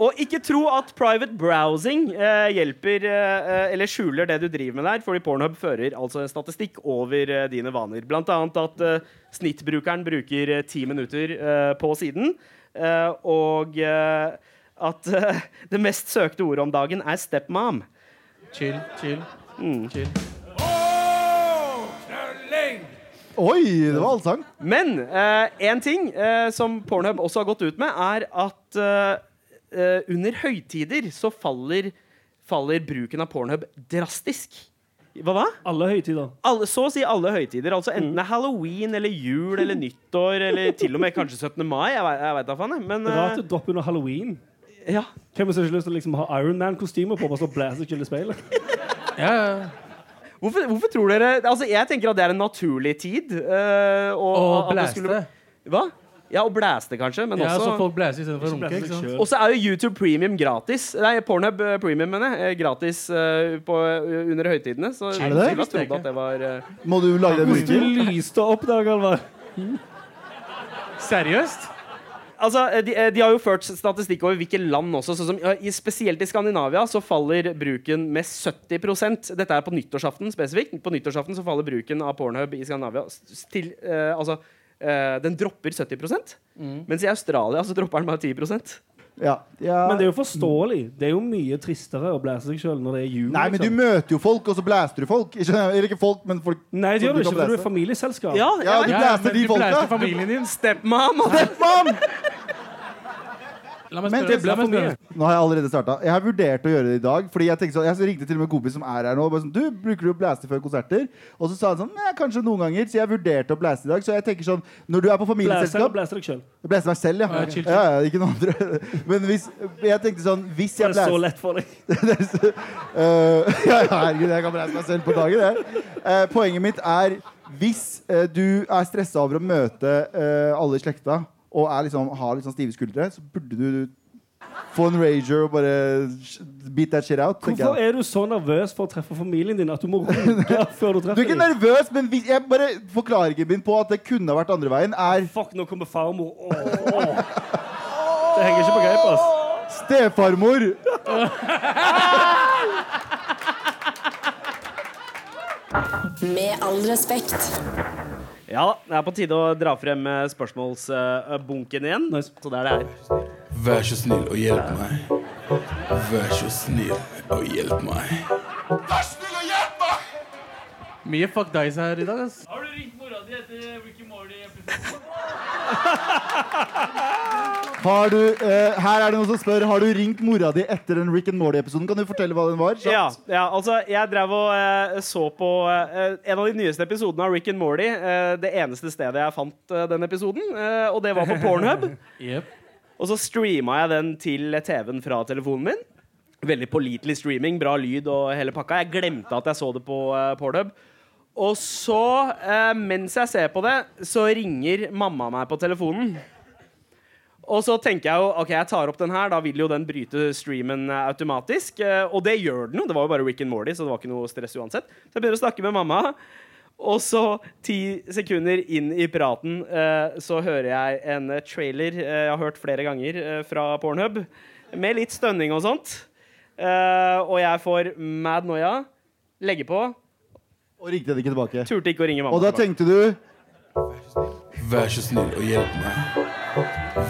Speaker 6: og ikke tro at private browsing eh, hjelper eh, eh, eller skjuler det du driver med der, fordi Pornhub fører altså en statistikk over eh, dine vaner. Blant annet at eh, snittbrukeren bruker eh, ti minutter eh, på siden, eh, og eh, at eh, det mest søkte ordet om dagen er stepmom.
Speaker 8: Chill, chill.
Speaker 3: Mm.
Speaker 8: chill.
Speaker 3: Oi, det var allsang.
Speaker 6: Men én ting eh, som Pornhub også har gått ut med, er at eh, eh, under høytider så faller, faller bruken av Pornhub drastisk. Hva da?
Speaker 7: Alle høytider.
Speaker 6: alle, så å si alle høytider. Altså enten det er halloween eller jul eller nyttår eller til og med kanskje 17. mai. Jeg, vet- jeg veit da faen, jeg. Men
Speaker 7: Rart
Speaker 6: eh,
Speaker 7: å droppe under halloween.
Speaker 6: ja.
Speaker 7: Hvem som ikke har lyst til å liksom ha Iron Man-kostymer på, bare så blæser skyld i speilet?
Speaker 8: Ja, ja.
Speaker 6: hvorfor, hvorfor tror dere Altså Jeg tenker at det er en naturlig tid. eh, og,
Speaker 8: Og
Speaker 6: at det
Speaker 8: blæste.
Speaker 6: skulle- Hva? Ja, og blæste, kanskje. Men
Speaker 8: Ja, så
Speaker 6: også
Speaker 8: folk blæser istedenfor å runke. ikke sant?
Speaker 6: Og så er jo YouTube Premium gratis. Nei, Pornhub eh, Premium, mener jeg. eh, Gratis eh, på, eh, under høytidene. Så
Speaker 3: Er det det?
Speaker 6: jeg trodde at det var eh,
Speaker 3: Må du lage deg
Speaker 7: Du
Speaker 3: musiker?
Speaker 7: lyste opp der, Galvar.
Speaker 8: Seriøst?
Speaker 6: Altså, eh, de, eh, de har jo ført statistikk over hvilke land også. Sånn som, eh, i, spesielt i Skandinavia så faller bruken med 70 Dette er på nyttårsaften spesifikt. På nyttårsaften så faller bruken av pornhub i Skandinavia s- s- til eh, Altså, eh, den dropper 70
Speaker 7: Mm.
Speaker 6: Mens i Australia så dropper den bare 10
Speaker 3: Ja. ja.
Speaker 7: Men det er jo forståelig. Det er jo mye tristere å blæse seg sjøl når det er jul. liksom.
Speaker 3: Nei, men du møter jo folk, og så blaster du folk. Ikke, eller ikke folk, men folk.
Speaker 7: Nei, det gjør
Speaker 3: som
Speaker 7: du
Speaker 3: du
Speaker 7: ikke,
Speaker 3: kan
Speaker 7: for du er
Speaker 3: blæse.
Speaker 7: familieselskap.
Speaker 6: Ja, jeg
Speaker 3: Ja,
Speaker 6: vet.
Speaker 3: du blaster
Speaker 8: men
Speaker 3: de
Speaker 8: du blæser
Speaker 3: folka.
Speaker 8: familien din.
Speaker 6: Stepmom!
Speaker 3: Mann!
Speaker 8: La meg
Speaker 7: Men
Speaker 8: spørre-
Speaker 7: det ble
Speaker 8: la meg
Speaker 7: for mye.
Speaker 8: spørre.
Speaker 3: Nå har jeg allerede starta. Jeg har vurdert å gjøre det i dag. Fordi Jeg tenkte sånn, jeg ringte til og med en kompis som er her nå. Og bare sånn, du, bruker du å blaste før konserter? Og så sa han sånn Nei, kanskje noen ganger. Så jeg vurderte å blaste i dag. Så jeg tenker sånn Når du er
Speaker 7: Blæser
Speaker 3: på
Speaker 7: og
Speaker 3: familieselskap
Speaker 7: blæser deg sjøl.
Speaker 3: Blaste meg selv, ja.
Speaker 8: Ja, chill, chill.
Speaker 3: ja, ja ikke noen andre. Men hvis Jeg tenkte sånn Hvis
Speaker 7: Det
Speaker 3: jeg
Speaker 7: er så
Speaker 3: blaster
Speaker 7: lett for deg.
Speaker 3: Eh, ja, ja, herregud, jeg kan reise meg selv på dagen. Jeg. Eh, poenget mitt er hvis eh, du er stressa over å møte eh, alle i slekta og er liksom, har litt sånn stive skuldre, så burde du få en rager og bare sh- beat that shit out. tenker
Speaker 7: Hvorfor
Speaker 3: jeg.
Speaker 7: er du så nervøs for å treffe familien din at du må runke før du
Speaker 3: Du er
Speaker 7: treffer
Speaker 3: ikke
Speaker 7: dem?
Speaker 3: nervøs, men hvis, jeg bare forklaringen min på at det kunne ha vært andre veien, er
Speaker 7: Fuck, nå kommer farmor. Åh. Det henger ikke på greip, ass.
Speaker 3: stefarmor.
Speaker 2: Med all respekt.
Speaker 6: Ja, det er på tide å dra frem eh, spørsmålsbunken igjen.
Speaker 7: Nice.
Speaker 6: Så der det er.
Speaker 5: Vær så snill og hjelp meg. Vær så snill og hjelp meg.
Speaker 8: Mye fuck dice her i dag, ass.
Speaker 9: Har du ringt mora di etter Ricky Morley?
Speaker 3: Har du, eh, her er det noen som spør Har du ringt mora di etter den Rick and Morty-episoden. Kan du fortelle hva den var? kjapt?
Speaker 6: Ja, ja, altså jeg drev og eh, så på eh, en av de nyeste episodene av Rick and Morty. eh, det eneste stedet jeg fant eh, den episoden, eh, og det var på Pornhub.
Speaker 8: Jep.
Speaker 6: Og så streama jeg den til TV-en fra telefonen min. Veldig pålitelig streaming, bra lyd og hele pakka. Jeg glemte at jeg så det på eh, Pornhub. Og så, eh, mens jeg ser på det, så ringer mamma meg på telefonen. Og så tenker jeg jo, ok, jeg tar opp den her, da vil jo den bryte streamen eh, automatisk. Eh, Og det gjør den jo, det var jo bare Rick and Morty, så det var ikke noe stress uansett. Så jeg begynner å snakke med mamma, og så ti sekunder inn i praten eh, så hører jeg en eh, trailer eh, jeg har hørt flere ganger eh, fra Pornhub, med litt stønning og sånt. Eh, Og jeg får mad noia, legger på,
Speaker 3: Og ringte den ikke tilbake.
Speaker 6: turte ikke å ringe mamma.
Speaker 3: Og da
Speaker 6: tilbake.
Speaker 3: tenkte du
Speaker 5: Vær så snill og hjelp meg.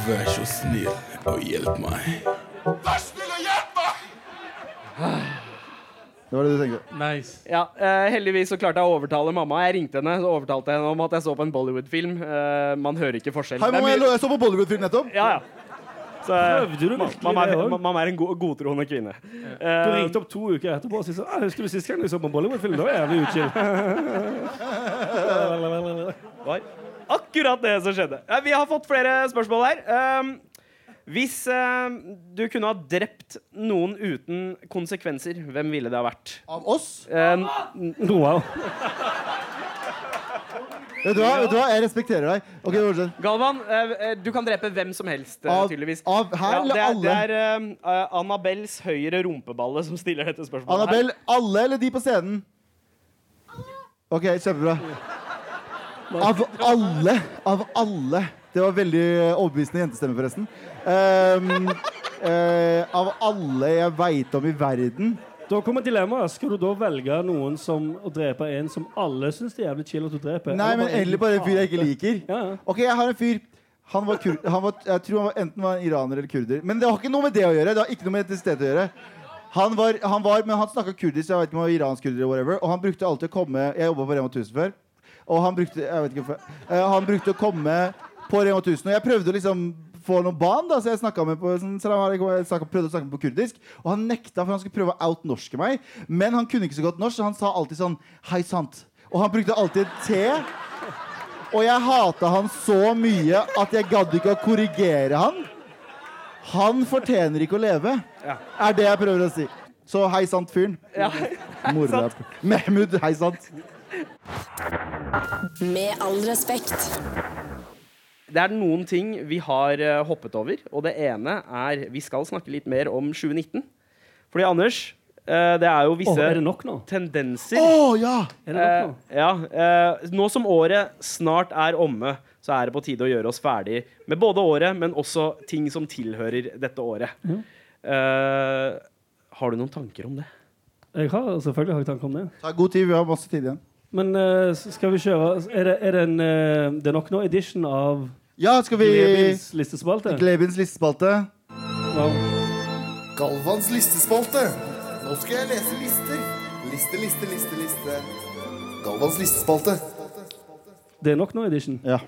Speaker 5: Vær så snill og hjelp meg.
Speaker 3: Det var det du tenkte.
Speaker 8: Nice.
Speaker 6: Ja, eh, Heldigvis så klarte jeg å overtale mamma. Jeg ringte henne så overtalte jeg henne om at jeg så på en Bollywood-film. Eh, man hører ikke forskjell.
Speaker 3: Hei,
Speaker 6: Det er
Speaker 3: mamma,
Speaker 6: mye-
Speaker 3: jeg, lå- jeg så på Bollywood-film nettopp.
Speaker 6: Ja, ja. Så,
Speaker 7: Prøvde du virkelig
Speaker 6: mamma,
Speaker 7: det
Speaker 6: er,
Speaker 7: også?
Speaker 6: mamma er en god, godtroende kvinne.
Speaker 7: Du ringte opp to uker etterpå og sa sånn «Ah, 'Husker du sist gang du så på en Bollywood-film?' Da var jeg jævlig utkild.
Speaker 6: Det var akkurat det som skjedde. Eh, Vi har fått flere spørsmål her. Ehm, hvis eh, du kunne ha drept noen uten konsekvenser, hvem ville det ha vært?
Speaker 3: Av oss?
Speaker 6: Ehm,
Speaker 7: Wow.
Speaker 3: Vet du hva, vet du hva? jeg respekterer deg. Ok, fortsett.
Speaker 6: Galvan, eh, eh, du kan drepe hvem som helst, eh,
Speaker 3: Av,
Speaker 6: tydeligvis.
Speaker 3: av her
Speaker 6: Ja, det er, det
Speaker 3: eller alle?
Speaker 6: er eh, eh, Annabels høyre rumpeballe som stiller dette spørsmålet. her.
Speaker 3: Annabelle, alle eller de på scenen? Ok, kjempebra. Av alle. Av alle. Det var veldig eh, overbevisende jentestemme, forresten. Ehm, eh, av alle jeg veit om i verden
Speaker 7: Da kommer dilemmaet. Skal du da velge noen som å drepe en som alle syns det er jævlig chill at du dreper?
Speaker 3: Nei, men
Speaker 7: bare en-
Speaker 3: eller bare en fyr jeg ikke liker.
Speaker 7: Ja, ja.
Speaker 3: Ok, jeg har en fyr han var kur han var, Jeg tror han var, enten var iraner eller kurder. Men det har ikke noe med det å gjøre. Det har ikke noe med etnisitet å gjgjøre Han var, han var, men han snakka kurdisk, jeg vet ikke om han var iransk kurder eller whatever. Og han brukte alltid å komme Jeg jobba på Rema 1000 før. Og han brukte Jeg vet ikke hvorfor. eh, han brukte å komme på Rema 1000. Og jeg prøvde å liksom få noen barn, da, så jeg snakket med på, sånn, salam alaikum, jeg snakket- prøvde å snakke med på kurdisk. Og han nekta, for han skulle prøve å outnorske meg. Men han kunne ikke så godt norsk, så han sa alltid sånn Hei sant. Og han brukte alltid T. Og jeg hata han så mye at jeg gadd ikke å korrigere han. Han fortjener ikke å leve, er det jeg prøver å si. Så hei sant, fyren.
Speaker 6: Ja.
Speaker 3: Mordrap. Mehmud, hei sant.
Speaker 2: Med all respekt.
Speaker 6: Det er noen ting vi har eh, hoppet over, og det ene er Vi skal snakke litt mer om 2019. Fordi Anders, eh, det er jo
Speaker 7: Åh,
Speaker 6: visse
Speaker 7: er det nok nå?
Speaker 3: Å
Speaker 6: tendenser
Speaker 3: ja!
Speaker 7: Er det
Speaker 6: Eh,
Speaker 7: nok nå?
Speaker 6: ja, eh, Nå som året snart er omme, så er det på tide å gjøre oss ferdig med både året, men også ting som tilhører dette året. Eh, har du noen tanker om det?
Speaker 7: Jeg har selvfølgelig har jeg tanker om det.
Speaker 3: Ta god tid, vi har masse tid igjen.
Speaker 7: Men eh, s- skal vi kjøre Er det, er det en eh, Det er nok nå edition av
Speaker 3: Ja, skal vi
Speaker 7: Lebins listespalte?
Speaker 3: Glebins listespalte.
Speaker 7: Wow.
Speaker 1: Galvans listespalte. Nå skal jeg lese lister. Liste, liste, liste, liste. Galvans listespalte.
Speaker 7: Det er nok nå edition.
Speaker 3: Ja.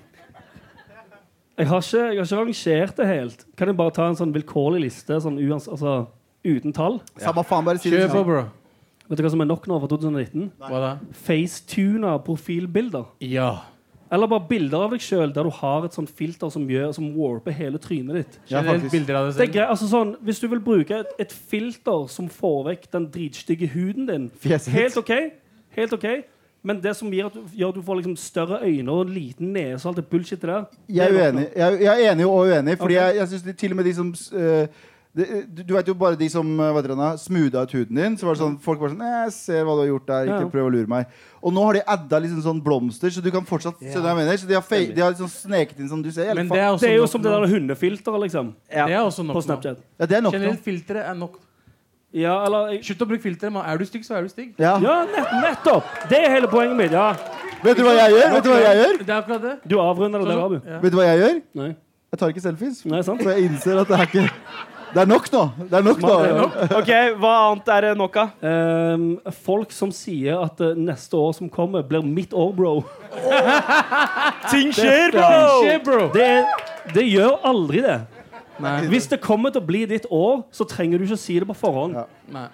Speaker 7: Jeg har ikke, jeg har ikke rangert det helt. Kan jeg bare ta en sånn vilkårlig liste sånn uans, altså, uten tall?
Speaker 3: Samme faen, bare si det.
Speaker 8: Kjør på, bro.
Speaker 7: Vet du hva som er nok nå for 2019?
Speaker 8: Hva da?
Speaker 7: Facetuna profilbilder.
Speaker 8: Ja.
Speaker 7: Eller bare bilder av deg sjøl der du har et sånt filter som, gjør, som warper hele trynet ditt.
Speaker 3: Ja,
Speaker 8: Generelt
Speaker 3: faktisk.
Speaker 8: bilder av deg
Speaker 7: Det er
Speaker 8: selv.
Speaker 7: greit, altså sånn, Hvis du vil bruke et, et filter som får vekk den dritstygge huden din
Speaker 3: Fjeset.
Speaker 7: Helt OK. Helt ok Men det som gjør at du, gjør at du får liksom større øyne og en liten nese og alt det bullshit der
Speaker 3: Jeg er
Speaker 7: det
Speaker 3: uenig, jeg, jeg er enig og uenig. Fordi
Speaker 7: Ok.
Speaker 3: jeg, jeg synes de, til og med de som eh, de, du, du vet jo bare de som eh, hva heter det nå, smootha ut huden din. Så var det sånn, Folk var sånn Jeg ser hva du har gjort der.
Speaker 7: Ja,
Speaker 3: Ikke
Speaker 7: ja.
Speaker 3: prøv å lure meg. Og nå har de adda liksom sånn blomster, så du kan fortsatt skjønner du hva jeg mener. Så de har, fe- de har liksom sneket inn sånn du ser.
Speaker 8: Men
Speaker 3: jævlig
Speaker 8: det
Speaker 3: faen-
Speaker 8: er også
Speaker 7: Det er jo
Speaker 8: nok
Speaker 7: som
Speaker 8: nå.
Speaker 7: det der hundefilteret, liksom.
Speaker 8: Det er også nok
Speaker 7: På
Speaker 8: nå.
Speaker 7: Snapchat.
Speaker 3: ja, det er nok nå.
Speaker 8: Generelt filtre er nok.
Speaker 7: Ja, eller jeg-
Speaker 8: Slutt å bruke filtre. mann. Er du stygg, så er du stygg.
Speaker 3: Ja.
Speaker 7: Ja, nett, nettopp! Det er hele poenget mitt. ja
Speaker 3: Vet du hva jeg gjør? Vet du hva jeg gjør?
Speaker 8: Det er akkurat det.
Speaker 7: Du avrunder det der, Abu.
Speaker 8: Ja.
Speaker 3: Vet du hva jeg gjør?
Speaker 7: Nei.
Speaker 3: Jeg tar ikke selfies.
Speaker 7: Nei, sant?
Speaker 3: For jeg innser at det er ikke Det er nok nå. Det er nok nå.
Speaker 6: OK, hva annet er det nok av?
Speaker 7: Ehm, folk som sier at eh, neste år som kommer, blir mitt år, bro.
Speaker 6: Ting skjer,
Speaker 8: Skje, bro.
Speaker 7: Det, er, det gjør aldri det.
Speaker 8: Nei.
Speaker 7: Hvis det kommer til å bli ditt år, så trenger du ikke å si det på forhånd.
Speaker 3: Ja.
Speaker 8: Nei.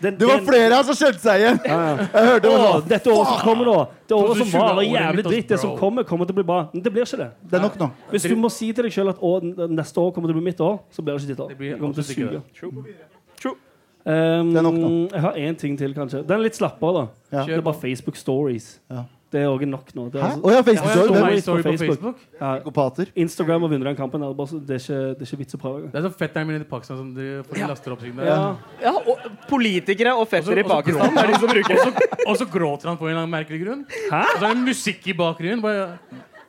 Speaker 7: Den-
Speaker 3: Det var
Speaker 7: den-
Speaker 3: flere her som skjønte seg igjen. Jeg hørte det var
Speaker 7: Å,
Speaker 3: sånn.
Speaker 7: dette året som kommer, da. Det året som
Speaker 8: 2020
Speaker 7: var, var
Speaker 8: året mitt,
Speaker 7: jævlig
Speaker 8: ass,
Speaker 7: dritt. Det som
Speaker 8: bro.
Speaker 7: kommer, kommer til å bli bra. Men det blir ikke det.
Speaker 3: Det er nok nå.
Speaker 7: Hvis du må si til deg sjøl at å, n- neste år kommer til å bli mitt år, så blir det ikke ditt år.
Speaker 8: Det blir
Speaker 7: Det kommer til å
Speaker 8: absolutt ikke
Speaker 7: suge.
Speaker 6: True.
Speaker 7: Um,
Speaker 3: Det er nok nå.
Speaker 7: jeg har én ting til, kanskje. Den er litt slappere, da.
Speaker 3: Ja.
Speaker 7: Det er bare Facebook Stories.
Speaker 3: Ja.
Speaker 7: Det er òg nok nå. Det er
Speaker 3: Hæ?
Speaker 7: altså-
Speaker 3: Å ja,
Speaker 8: Jeg så
Speaker 3: Facebook.
Speaker 7: det er
Speaker 8: meg
Speaker 7: litt
Speaker 8: i story
Speaker 7: på
Speaker 8: på
Speaker 7: Facebook.
Speaker 8: Facebook.
Speaker 7: Ja,
Speaker 3: Psykopater.
Speaker 7: Instagram og vinner den kampen. Det er, bare, så- det er ikke, det er ikke vits å prøve engang.
Speaker 8: Det er så fetteren min i Pakistan som driver- folk laster opp siden der.
Speaker 7: Ja.
Speaker 6: Ja, og politikere og fettere i
Speaker 8: Også- også
Speaker 6: Pakistan
Speaker 8: gråter
Speaker 6: er de som bruker det.
Speaker 8: han. Og så gråter han på en eller annen merkelig grunn.
Speaker 7: Hæ?
Speaker 8: Og så er det musikk i bakgrunnen. Bare,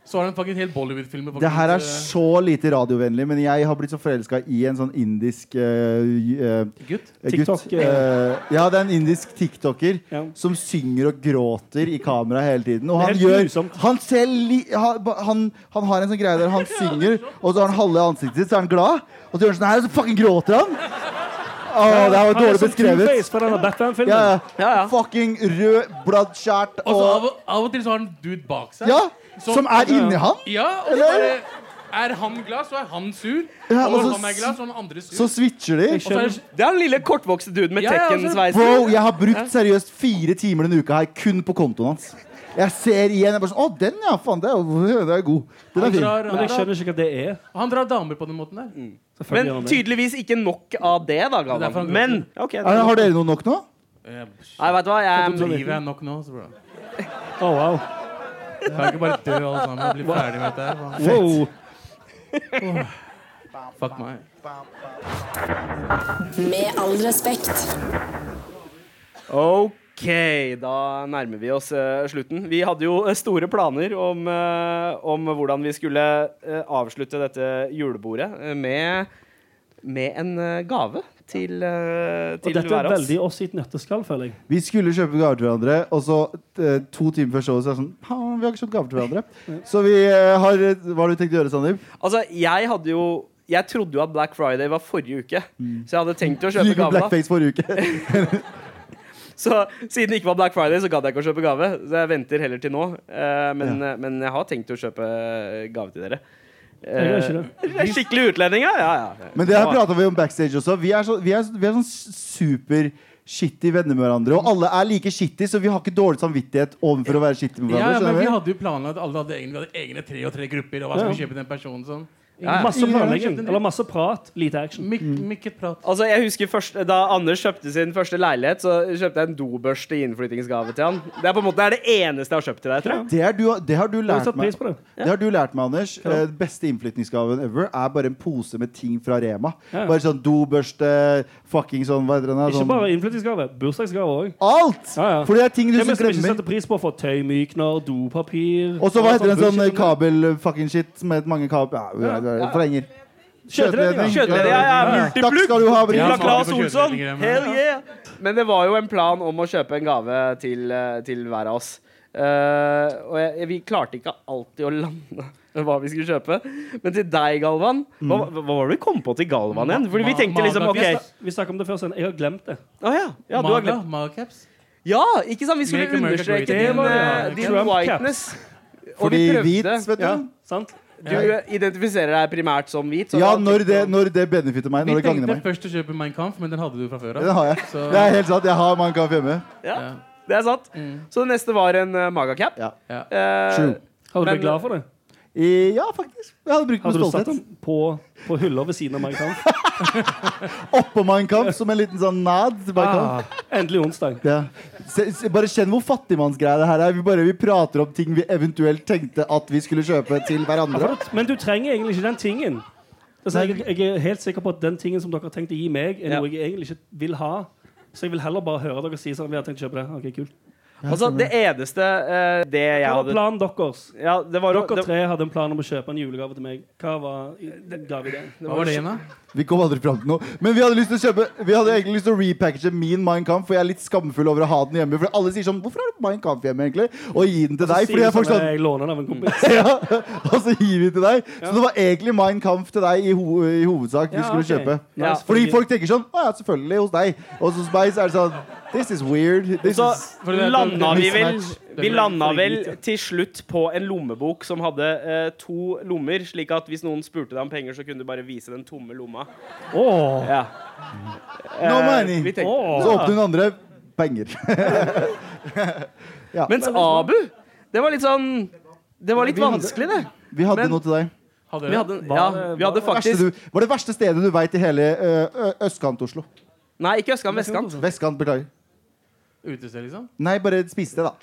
Speaker 8: så har han faktisk en hel Bollywood-film. med
Speaker 3: Det her er
Speaker 8: faktisk,
Speaker 3: så lite radiovennlig, men jeg har blitt så forelska i en sånn indisk eh, eh,
Speaker 8: eh, Gutt.
Speaker 3: gutt.
Speaker 7: TikTok, eh.
Speaker 3: Eh, ja, det er en indisk tiktoker
Speaker 7: Ja.
Speaker 3: som synger og gråter i kamera hele tiden. Og
Speaker 7: Det er
Speaker 3: han
Speaker 7: helt
Speaker 3: gjør
Speaker 7: grusomt.
Speaker 3: han, selv, li- han, han, han har en sånn greie der han synger, og så har han halve ansiktet sitt, så er han glad. Og så gjør han sånn her, og så fucking gråter han! Å, det her var dårlig beskrevet.
Speaker 7: Two-Face fra denne Batman-filmen.
Speaker 3: Ja, ja.
Speaker 6: Ja, ja.
Speaker 3: Fucking rød, bloodskjært
Speaker 8: Og så
Speaker 3: og
Speaker 8: av, og- av og til så har han dude bak seg.
Speaker 3: Ja!
Speaker 8: Så-
Speaker 3: Som er inni han.
Speaker 8: Ja, og så bare Er han glad, så er han sur.
Speaker 3: Ja, og
Speaker 8: og når
Speaker 3: så
Speaker 8: han er
Speaker 3: s-
Speaker 8: glad, så er han andre sur.
Speaker 3: Så switcher de.
Speaker 7: Jeg
Speaker 8: og så er
Speaker 7: skjønner
Speaker 8: det,
Speaker 6: Det er den lille kortvokste duden med
Speaker 8: Ja, ja,
Speaker 6: Tekken-sveisen.
Speaker 3: Bro, jeg har brukt seriøst fire timer denne uka her kun på kontoen hans. Jeg ser igjen. jeg bare sånn, Å, den, ja! Faen, det er, det er god. Den
Speaker 8: han,
Speaker 3: er fin.
Speaker 8: drar,
Speaker 7: Men
Speaker 8: han,
Speaker 7: jeg
Speaker 8: drar,
Speaker 7: skjønner ikke hva det er.
Speaker 8: han drar damer på den måten der.
Speaker 7: Selvfølgelig gjør
Speaker 6: Men
Speaker 7: han det.
Speaker 6: tydeligvis ikke nok av det, da,
Speaker 8: Det er
Speaker 6: Galvan.
Speaker 8: derfor han
Speaker 6: Men OK. det er
Speaker 3: Er,
Speaker 6: nok.
Speaker 3: har dere noe nok nå?
Speaker 8: Eh,
Speaker 6: Nei, vet du hva,
Speaker 7: sånn
Speaker 6: jeg
Speaker 8: Livet er nok nå. Så bra.
Speaker 7: Å, wow.
Speaker 8: Kan ikke bare dø alle sammen og bli ferdig med dette her.
Speaker 7: wow.
Speaker 8: Fuck meg.
Speaker 2: Med all respekt.
Speaker 6: OK, da nærmer vi oss eh, slutten. Vi hadde jo eh, store planer om, eh, om hvordan vi skulle eh, avslutte dette julebordet eh, med, med en eh, gave til, eh,
Speaker 7: Og
Speaker 6: til
Speaker 7: dette er
Speaker 6: hver av oss.
Speaker 7: veldig oss i et nøtteskall, føler jeg.
Speaker 3: Vi skulle kjøpe gaver til hverandre, og så eh, to timer før showet så er det sånn «Ha, Vi har ikke kjøpt gaver til hverandre. Så vi eh, har Hva har du tenkt å gjøre, Sandeep?
Speaker 6: Altså, jeg hadde jo Jeg trodde jo at Black Friday var forrige uke,
Speaker 7: Mm.
Speaker 6: så jeg hadde tenkt å
Speaker 3: Du
Speaker 6: kjøpe
Speaker 3: gikk med
Speaker 6: gave. da.
Speaker 3: blackface forrige uke.
Speaker 6: Så siden det ikke var Black Friday, så gadd jeg ikke å kjøpe gave. Så jeg venter heller til nå. Eh, men, men jeg har tenkt å kjøpe gave til dere.
Speaker 7: Jeg gjør ikke det.
Speaker 6: Eh, skikkelig utlending, ja. ja, ja.
Speaker 3: Men det her prata vi om backstage også. Vi er, så, vi er, vi er sånn super shitty venner med hverandre. Og alle er like shitty, så vi har ikke dårlig samvittighet overfor å være shitty med
Speaker 8: Ja,
Speaker 3: hverandre.
Speaker 8: ja, men
Speaker 3: skjønner
Speaker 8: vi
Speaker 3: du?
Speaker 8: hadde jo planlagt alle hadde egne, vi hadde egne tre og tre grupper. Og hva skal vi kjøpe den personen som
Speaker 6: Ja, ja.
Speaker 7: Masse
Speaker 3: Ingen har
Speaker 7: planlegging.
Speaker 8: kjøpt en dritt.
Speaker 7: Eller masse prat, lite action.
Speaker 8: Mik
Speaker 3: Mm.
Speaker 8: Mikket prat.
Speaker 6: Altså, jeg husker først, Da Anders kjøpte sin første leilighet, så kjøpte jeg en dobørste i innflyttingsgave til han. Det er på en måte det, er det eneste jeg har kjøpt til deg, tror jeg.
Speaker 3: Det, er du, det har du
Speaker 7: Jeg har
Speaker 3: lært
Speaker 7: satt
Speaker 3: meg.
Speaker 7: pris på det.
Speaker 3: Det har du lært meg, Anders. Eh, beste innflytningsgaven ever er bare en pose med ting fra Rema.
Speaker 7: Ja.
Speaker 3: Bare sånn dobørste, fucking sånn hva heter den da?
Speaker 7: Ikke
Speaker 3: Sånn,
Speaker 7: bare innflyttingsgave. Bursdagsgave òg.
Speaker 3: alt!
Speaker 7: Ja, ja.
Speaker 3: For det er ting du
Speaker 7: Hvem er det som ikke
Speaker 3: glemmer.
Speaker 7: setter pris på å få tøymykner, dopapir altså,
Speaker 3: Og så hva heter den sånn
Speaker 7: bullshit.
Speaker 3: kabel-fucking-shit med mange kabel... Ja, ja, ja, forlenger.
Speaker 7: Skjøteledning.
Speaker 6: Kjødler, jeg er
Speaker 3: Takk
Speaker 6: multiplugg!
Speaker 3: skal du ha,
Speaker 8: Ja,
Speaker 6: Fra
Speaker 3: Brynjar.
Speaker 8: smaker
Speaker 6: Claes
Speaker 8: på
Speaker 6: Olsson!
Speaker 8: kjødler, Graham.
Speaker 6: Hell yeah! Men det var jo en plan om å kjøpe en gave til, eh, til hver av oss. Eh, og jeg, vi klarte ikke alltid å lande hva vi skulle kjøpe. Men til deg, Galvan Hva, hva var det vi kom på til Galvan igjen? Fordi vi tenkte liksom OK.
Speaker 7: Vi snak- Vi snakket om det før, sånn. Jeg har glemt det.
Speaker 6: Å ja, ja, du har glemt.
Speaker 8: Magacaps.
Speaker 6: ja, ikke sant? Vi skulle
Speaker 8: Make America
Speaker 6: understreke
Speaker 8: Great Again.
Speaker 6: din, eh,
Speaker 8: Det var det, ja.
Speaker 6: din
Speaker 7: Trump caps.
Speaker 6: whiteness. Og
Speaker 3: Fordi
Speaker 6: vi prøvde.
Speaker 3: hvit, vet du.
Speaker 7: Sant?
Speaker 6: Du identifiserer deg primært som hvit? så
Speaker 3: Ja,
Speaker 6: da-
Speaker 3: når det, når det benefitter meg.
Speaker 8: Vi
Speaker 3: Når det gagner
Speaker 8: tenkte
Speaker 3: meg.
Speaker 8: først å kjøpe Mein Kampf, men den hadde du fra før
Speaker 3: Den
Speaker 8: av.
Speaker 3: har jeg.
Speaker 8: Så-
Speaker 3: Det er helt sant. Jeg har Mein Kampf hjemme.
Speaker 6: ja, det er sant. Så det neste var en uh, magacap.
Speaker 3: Ja.
Speaker 8: Mm. Ja.
Speaker 6: Eh,
Speaker 3: True.
Speaker 7: Hadde du
Speaker 6: Men-
Speaker 7: blitt glad for det?
Speaker 3: I- Ja, faktisk. Jeg hadde brukt
Speaker 7: Hadde
Speaker 3: med
Speaker 7: du satt
Speaker 3: stolthet.
Speaker 7: den på, på hylla ved siden av Mein Kampf?
Speaker 3: Oppå Mein Kampf som en liten sånn nad til Mein
Speaker 7: Ah.
Speaker 3: Kampf.
Speaker 7: Endelig onsdag.
Speaker 3: Ja. Se, se, bare kjenn hvor fattigmannsgreie det her er. Vi bare vi prater om ting vi eventuelt tenkte at vi skulle kjøpe til hverandre.
Speaker 7: Men du trenger egentlig ikke den tingen. Altså, jeg, jeg er helt sikker på at den tingen som dere har tenkt å gi meg, er
Speaker 6: Ja.
Speaker 7: noe jeg egentlig ikke vil ha. Så jeg vil heller bare høre dere si sånn. Vi har tenkt å kjøpe det. Ok, kult.
Speaker 6: Altså, det eneste eh, Det jeg
Speaker 7: Hva var
Speaker 6: hadde
Speaker 7: planen deres?
Speaker 6: ja, det var, jo-
Speaker 7: Dere
Speaker 6: det,
Speaker 7: tre hadde en plan om å kjøpe en julegave til meg. Hva var gaveideen?
Speaker 8: Hva var det igjen, da?
Speaker 3: Vi kom aldri fram til noe. Men vi hadde lyst til å kjøpe Vi hadde egentlig lyst til å repackage min Mein Kampf, for jeg er litt skamfull over å ha den hjemme. For alle sier sånn Hvorfor har du Mein Kampf hjemme, egentlig? Og gi den til deg. Fordi jeg faktisk hadde
Speaker 7: sånn, jeg låner den av en kompis.
Speaker 3: ja, og så gir vi til deg. Så det var egentlig Mein Kampf til deg i, ho i hovedsak vi
Speaker 7: Ja,
Speaker 3: skulle
Speaker 7: ok.
Speaker 3: kjøpe.
Speaker 6: Ja.
Speaker 3: Fordi folk tenker sånn Å ja, selvfølgelig, hos deg. Og hos meg så er det sånn This is weird. This
Speaker 6: så
Speaker 3: is
Speaker 8: For det er-
Speaker 6: landa vi vel
Speaker 8: mismatch.
Speaker 6: Vi landa vel til slutt på en lommebok som hadde eh, to lommer, slik at hvis noen spurte deg om penger, så kunne du bare vise den tomme lomma.
Speaker 7: Åh.
Speaker 6: Ja.
Speaker 3: No
Speaker 6: Eh,
Speaker 3: money.
Speaker 6: vi tenkte-
Speaker 7: Åh.
Speaker 3: Så åpner hun andre penger. ja.
Speaker 6: Mens Abu, det var litt sånn Det var litt vanskelig, det.
Speaker 3: vi hadde
Speaker 6: men-
Speaker 3: noe til deg.
Speaker 8: Hadde
Speaker 6: Vi
Speaker 8: dere?
Speaker 6: hadde, ja, vi hadde
Speaker 3: Det verste,
Speaker 6: faktisk
Speaker 3: du, var det verste stedet du veit i hele eh, ø, ø, østkant-Oslo?
Speaker 6: Nei, ikke østkant, vestkant.
Speaker 3: Vestkant, beklager.
Speaker 8: Utested, liksom?
Speaker 3: Nei, bare spiste, da.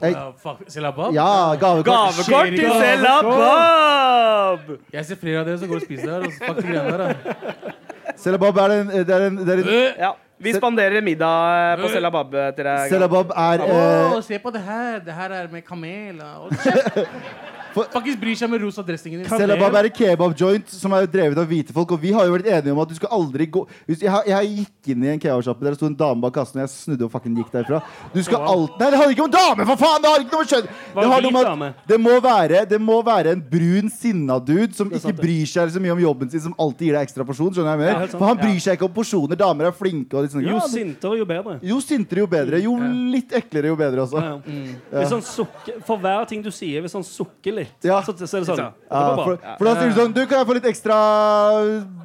Speaker 8: Ja, fuck, Silabab?
Speaker 3: Ja, gavekort.
Speaker 6: Gavekort til Selabab!
Speaker 8: Jeg ser flere av dere som går og spiser der. Og så fuck de greiene der, da.
Speaker 3: Selabab er en, det er en, det er en
Speaker 6: Ja, vi spanderer middag på Selabab til deg.
Speaker 3: Selabab er ø,
Speaker 8: Åh, se på det her. Det her er med kamel. da. Åh, shit.
Speaker 3: For-
Speaker 8: Faktisk bryr seg med rosa dressingen din.
Speaker 3: Selabab er en kebabjoint som er drevet av hvite folk. Og vi har jo vært enige om at du skal aldri gå Hvis- Jeg, jeg gikk inn i en kebabsjappe der det sto en dame bak kassen, og jeg snudde og fucking gikk derfra. Du skal alt... Nei, det handler ikke om dame, for faen! Det har ikke noe med kjønn
Speaker 7: Var
Speaker 3: det, har
Speaker 7: det
Speaker 3: noe med
Speaker 7: hvit dame?
Speaker 3: at det, må være, det må være en brun, sinna dude som ikke
Speaker 7: sant, det.
Speaker 3: bryr seg så mye om jobben sin, som alltid gir deg ekstra porsjon. Skjønner du hva jeg
Speaker 7: Ja,
Speaker 3: mener?
Speaker 7: helt sant.
Speaker 3: for han bryr seg ikke om porsjoner. Damer er flinke og litt sånn.
Speaker 7: Jo
Speaker 3: ja, men-
Speaker 7: sintere, jo bedre.
Speaker 3: jo sintere, jo bedre. Jo litt eklere, jo bedre, altså.
Speaker 7: Ja. Hvis han sukker, for hver ting du sier, hvis han sukker litt,
Speaker 3: Ja.
Speaker 7: så, så er det sånn.
Speaker 6: Ja.
Speaker 7: Dette
Speaker 3: Ja,
Speaker 7: går
Speaker 3: for,
Speaker 7: bra.
Speaker 3: for da sier du sånn Du, kan jeg få litt ekstra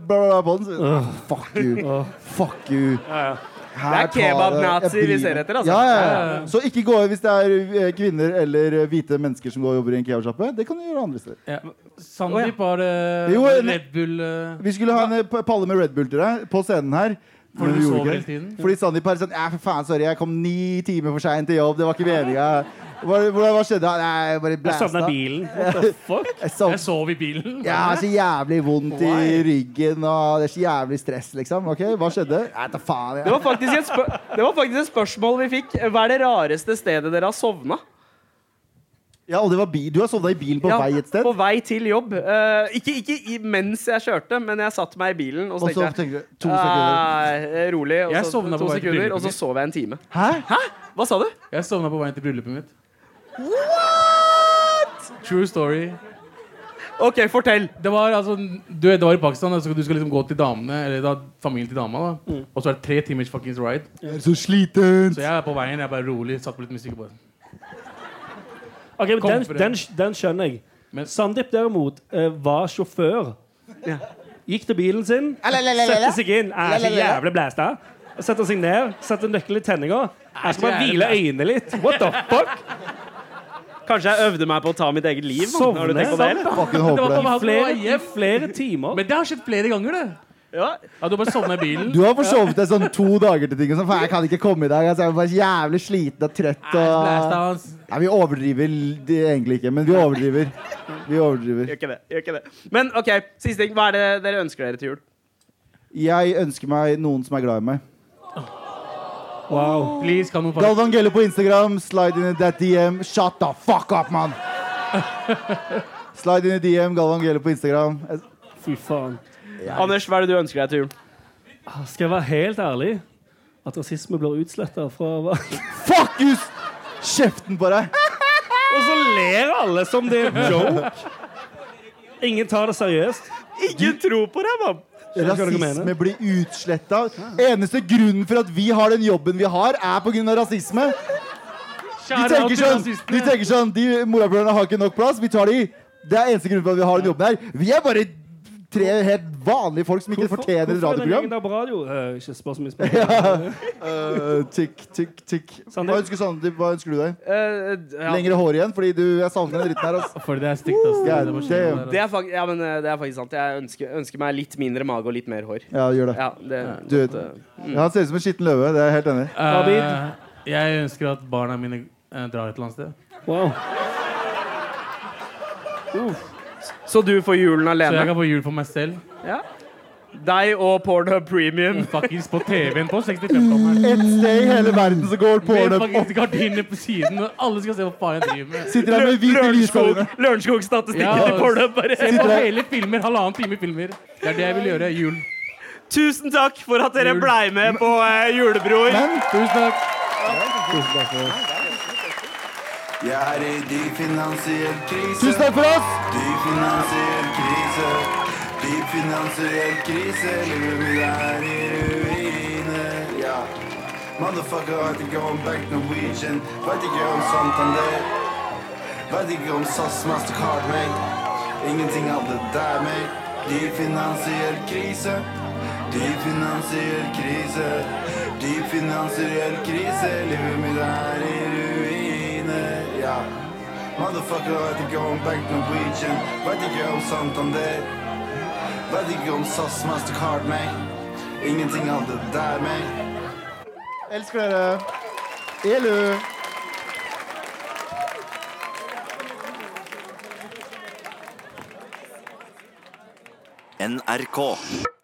Speaker 3: bla, bla, bla, på den? Så- Fuck you. Fuck you. Her
Speaker 6: Det er
Speaker 3: tar
Speaker 6: kebab-nazi
Speaker 3: jeg bryr
Speaker 6: vi ser
Speaker 3: meg.
Speaker 6: etter, altså.
Speaker 3: Ja, ja, ja. Så ikke gå hvis det er eh, kvinner eller eh, hvite mennesker som går og jobber i en kebabsjappe. Det kan du gjøre andre steder.
Speaker 8: Ja. Sandeep har eh,
Speaker 3: Jo, en-
Speaker 8: Red Bull eh,
Speaker 3: Vi skulle ha en eh, p- palle med Red Bull til deg på scenen her.
Speaker 8: Fordi
Speaker 3: Men
Speaker 8: du
Speaker 3: vi
Speaker 8: sover
Speaker 3: gjorde
Speaker 8: hele
Speaker 3: ikke det.
Speaker 8: tiden?
Speaker 3: Fordi Sandeep er sånn Ja, for faen, sorry, jeg kom ni timer for seint til jobb. Det var ikke meninga. Hva, hva hva skjedde? Nei, jeg bare
Speaker 7: Jeg
Speaker 3: blæsta.
Speaker 7: savner bilen. What the fuck?
Speaker 3: Jeg sov-
Speaker 8: Jeg sov i bilen.
Speaker 3: Ja, jeg har så jævlig vondt i ryggen, og det er så jævlig stress, liksom. Ok, Hva skjedde? Jeg tar faen.
Speaker 6: Det
Speaker 3: Jeg.
Speaker 6: var, faktisk et spør det var faktisk et spørsmål vi fikk. Hva er det rareste stedet dere har sovna?
Speaker 3: Ja, og det var bil. Du har sovna i bilen på
Speaker 6: Ja,
Speaker 3: vei et sted?
Speaker 6: På vei til jobb. Eh, ikke ikke i, mens jeg kjørte, men jeg satte meg i bilen og så
Speaker 3: Og så
Speaker 6: tenkte jeg
Speaker 3: tenker du to sekunder
Speaker 6: «Eh, Rolig. Og
Speaker 8: Jeg
Speaker 6: så
Speaker 8: sovna
Speaker 6: to
Speaker 8: på vei til
Speaker 6: sekunder,
Speaker 8: bryllupet
Speaker 6: og så
Speaker 8: mitt.
Speaker 6: sov jeg en time.
Speaker 3: Hæ?
Speaker 6: Hva sa du?
Speaker 8: Jeg sovna på veien til bryllupet mitt. True story.
Speaker 6: OK, fortell.
Speaker 8: Det var altså Du vet, det var i Pakistan, da, så du skal liksom gå til damene, eller da familien til dama, da. Og så er det tre timers fuckings ride.
Speaker 3: Jeg er så sliten.
Speaker 8: Så jeg er på veien, jeg er bare rolig, satt på litt musikk og bare
Speaker 7: Ok, men
Speaker 8: Kom
Speaker 7: den,
Speaker 8: for det.
Speaker 7: den, den skjønner jeg.
Speaker 8: Men-
Speaker 7: Sandeep derimot eh, var sjåfør.
Speaker 6: Ja.
Speaker 7: Gikk til bilen sin, setter seg inn, er så jævlig blæsta. Setter seg ned, setter nøkkelen i tenninga. Jeg skal bare hvile øynene litt. What the fuck?
Speaker 6: Kanskje jeg øvde meg på å ta mitt eget liv? mann. Har du
Speaker 7: Sovne.
Speaker 6: tenkt på det? eller?
Speaker 3: Fucking håper det.
Speaker 8: var-
Speaker 7: Flere, i flere timer.
Speaker 8: Men det har skjedd flere ganger, det.
Speaker 6: Ja.
Speaker 8: Ja, du har bare sovna i bilen.
Speaker 3: Du har forsovet deg sånn to dager til ting. og Sånn, faen, jeg kan ikke komme i dag. Altså, jeg er bare så jævlig sliten og trøtt. Og... Nei, vi overdriver l- det egentlig ikke, men vi overdriver. Vi overdriver.
Speaker 6: Gjør ikke det. Gjør ikke det. Men OK, siste ting. Hva er det dere ønsker dere til jul?
Speaker 3: Jeg ønsker meg noen som er glad i meg.
Speaker 7: Wow.
Speaker 8: Please, kan noen faktisk
Speaker 3: Galvan Gelle på Instagram. Slide in a that DM. Shut the fuck up, mann! Slide in a DM. Galvan Gelle på Instagram.
Speaker 7: Fy faen.
Speaker 6: Anders, hva er det du ønsker deg til jul?
Speaker 7: Skal jeg være helt ærlig? At rasisme blir utsletta fra
Speaker 3: Fuck you! s- Kjeften på deg!
Speaker 7: Og så ler alle som det er en joke. Ingen tar det seriøst.
Speaker 6: Ingen tro på deg, mann!
Speaker 7: hva dere
Speaker 3: Rasisme
Speaker 7: mener.
Speaker 3: blir utsletta. Eneste grunnen for at vi har den jobben vi har, er pga. rasisme. De
Speaker 8: Kjære
Speaker 3: sånn, tenker sånn, de tenker sånn De morapulerne har ikke nok plass. Vi tar de Det er eneste grunnen til at vi har den jobben her. Vi er bare tre helt vanlige folk som ikke fortjener
Speaker 7: Hvorfor er
Speaker 3: et
Speaker 7: den
Speaker 3: radioprogram.
Speaker 7: gjengen der på radio? Eh, ikke spør så mye spørsmål.
Speaker 3: Eh, tikk, tikk, tikk. Hva ønsker Sandeep? Hva ønsker du deg?
Speaker 6: Eh, ja.
Speaker 3: Lengre hår igjen, fordi du jeg savner den dritten her. altså. ass.
Speaker 8: For det er stygt, ass.
Speaker 3: Ja,
Speaker 8: Det var
Speaker 3: det-
Speaker 8: skikkelig der, ass.
Speaker 6: Det er, fak- ja, men, eh, det er faktisk sant. Jeg ønsker, ønsker meg litt mindre mage og litt mer hår.
Speaker 3: Ja, gjør det.
Speaker 6: Ja, det,
Speaker 3: Du vet, ja, han ser ut som en skitten løve. Det er jeg helt enig i.
Speaker 8: Eh, jeg ønsker at barna mine eh, drar et eller annet sted.
Speaker 7: Wow.
Speaker 6: Så du får julen
Speaker 8: Så jeg
Speaker 6: alene.
Speaker 8: kan få jul for meg selv.
Speaker 6: Ja. Deg og Pornhub Premium.
Speaker 8: Fuckings på TV-en på 65-tommeren.
Speaker 3: Et sted i hele verden så går
Speaker 8: Med
Speaker 3: porno opp.
Speaker 8: fuckings gardiner på siden, og alle skal se hva faen jeg driver med.
Speaker 3: Sitter der med hvite
Speaker 6: Lørenskog-
Speaker 3: lysgardiner.
Speaker 6: Lørenskog-statistikken
Speaker 8: Ja,
Speaker 6: til Pornhub.
Speaker 8: Se
Speaker 6: Bare.
Speaker 8: på hele filmer, halvannen time filmer. Det er det jeg vil gjøre. Jul.
Speaker 6: Tusen takk for at dere blei med på eh, Julebror.
Speaker 8: Tusen takk.
Speaker 10: Jeg er i dyp finansiell krise.
Speaker 3: Tusen takk for oss!
Speaker 10: Dyp finansiell krise. Dyp finansiell krise. Livet mitt er i ruiner. Ja. Motherfucker, vet ikke om Bank Norwegian. Vet ikke om Santander. Vet ikke om SAS Mastercard, mate. Ingenting av det der, mate. Dyp finansiell krise. Dyp finansiell krise. Dyp finansiell krise. Livet mitt er i ruiner. Ja. Motherfucker, vet ikke om Bank Norwegian. Vet ikke om Santander. Vet ikke om SAS Mastercard, mate. Ingenting av det der, mate.
Speaker 3: Elsker dere. Elu.
Speaker 10: NRK.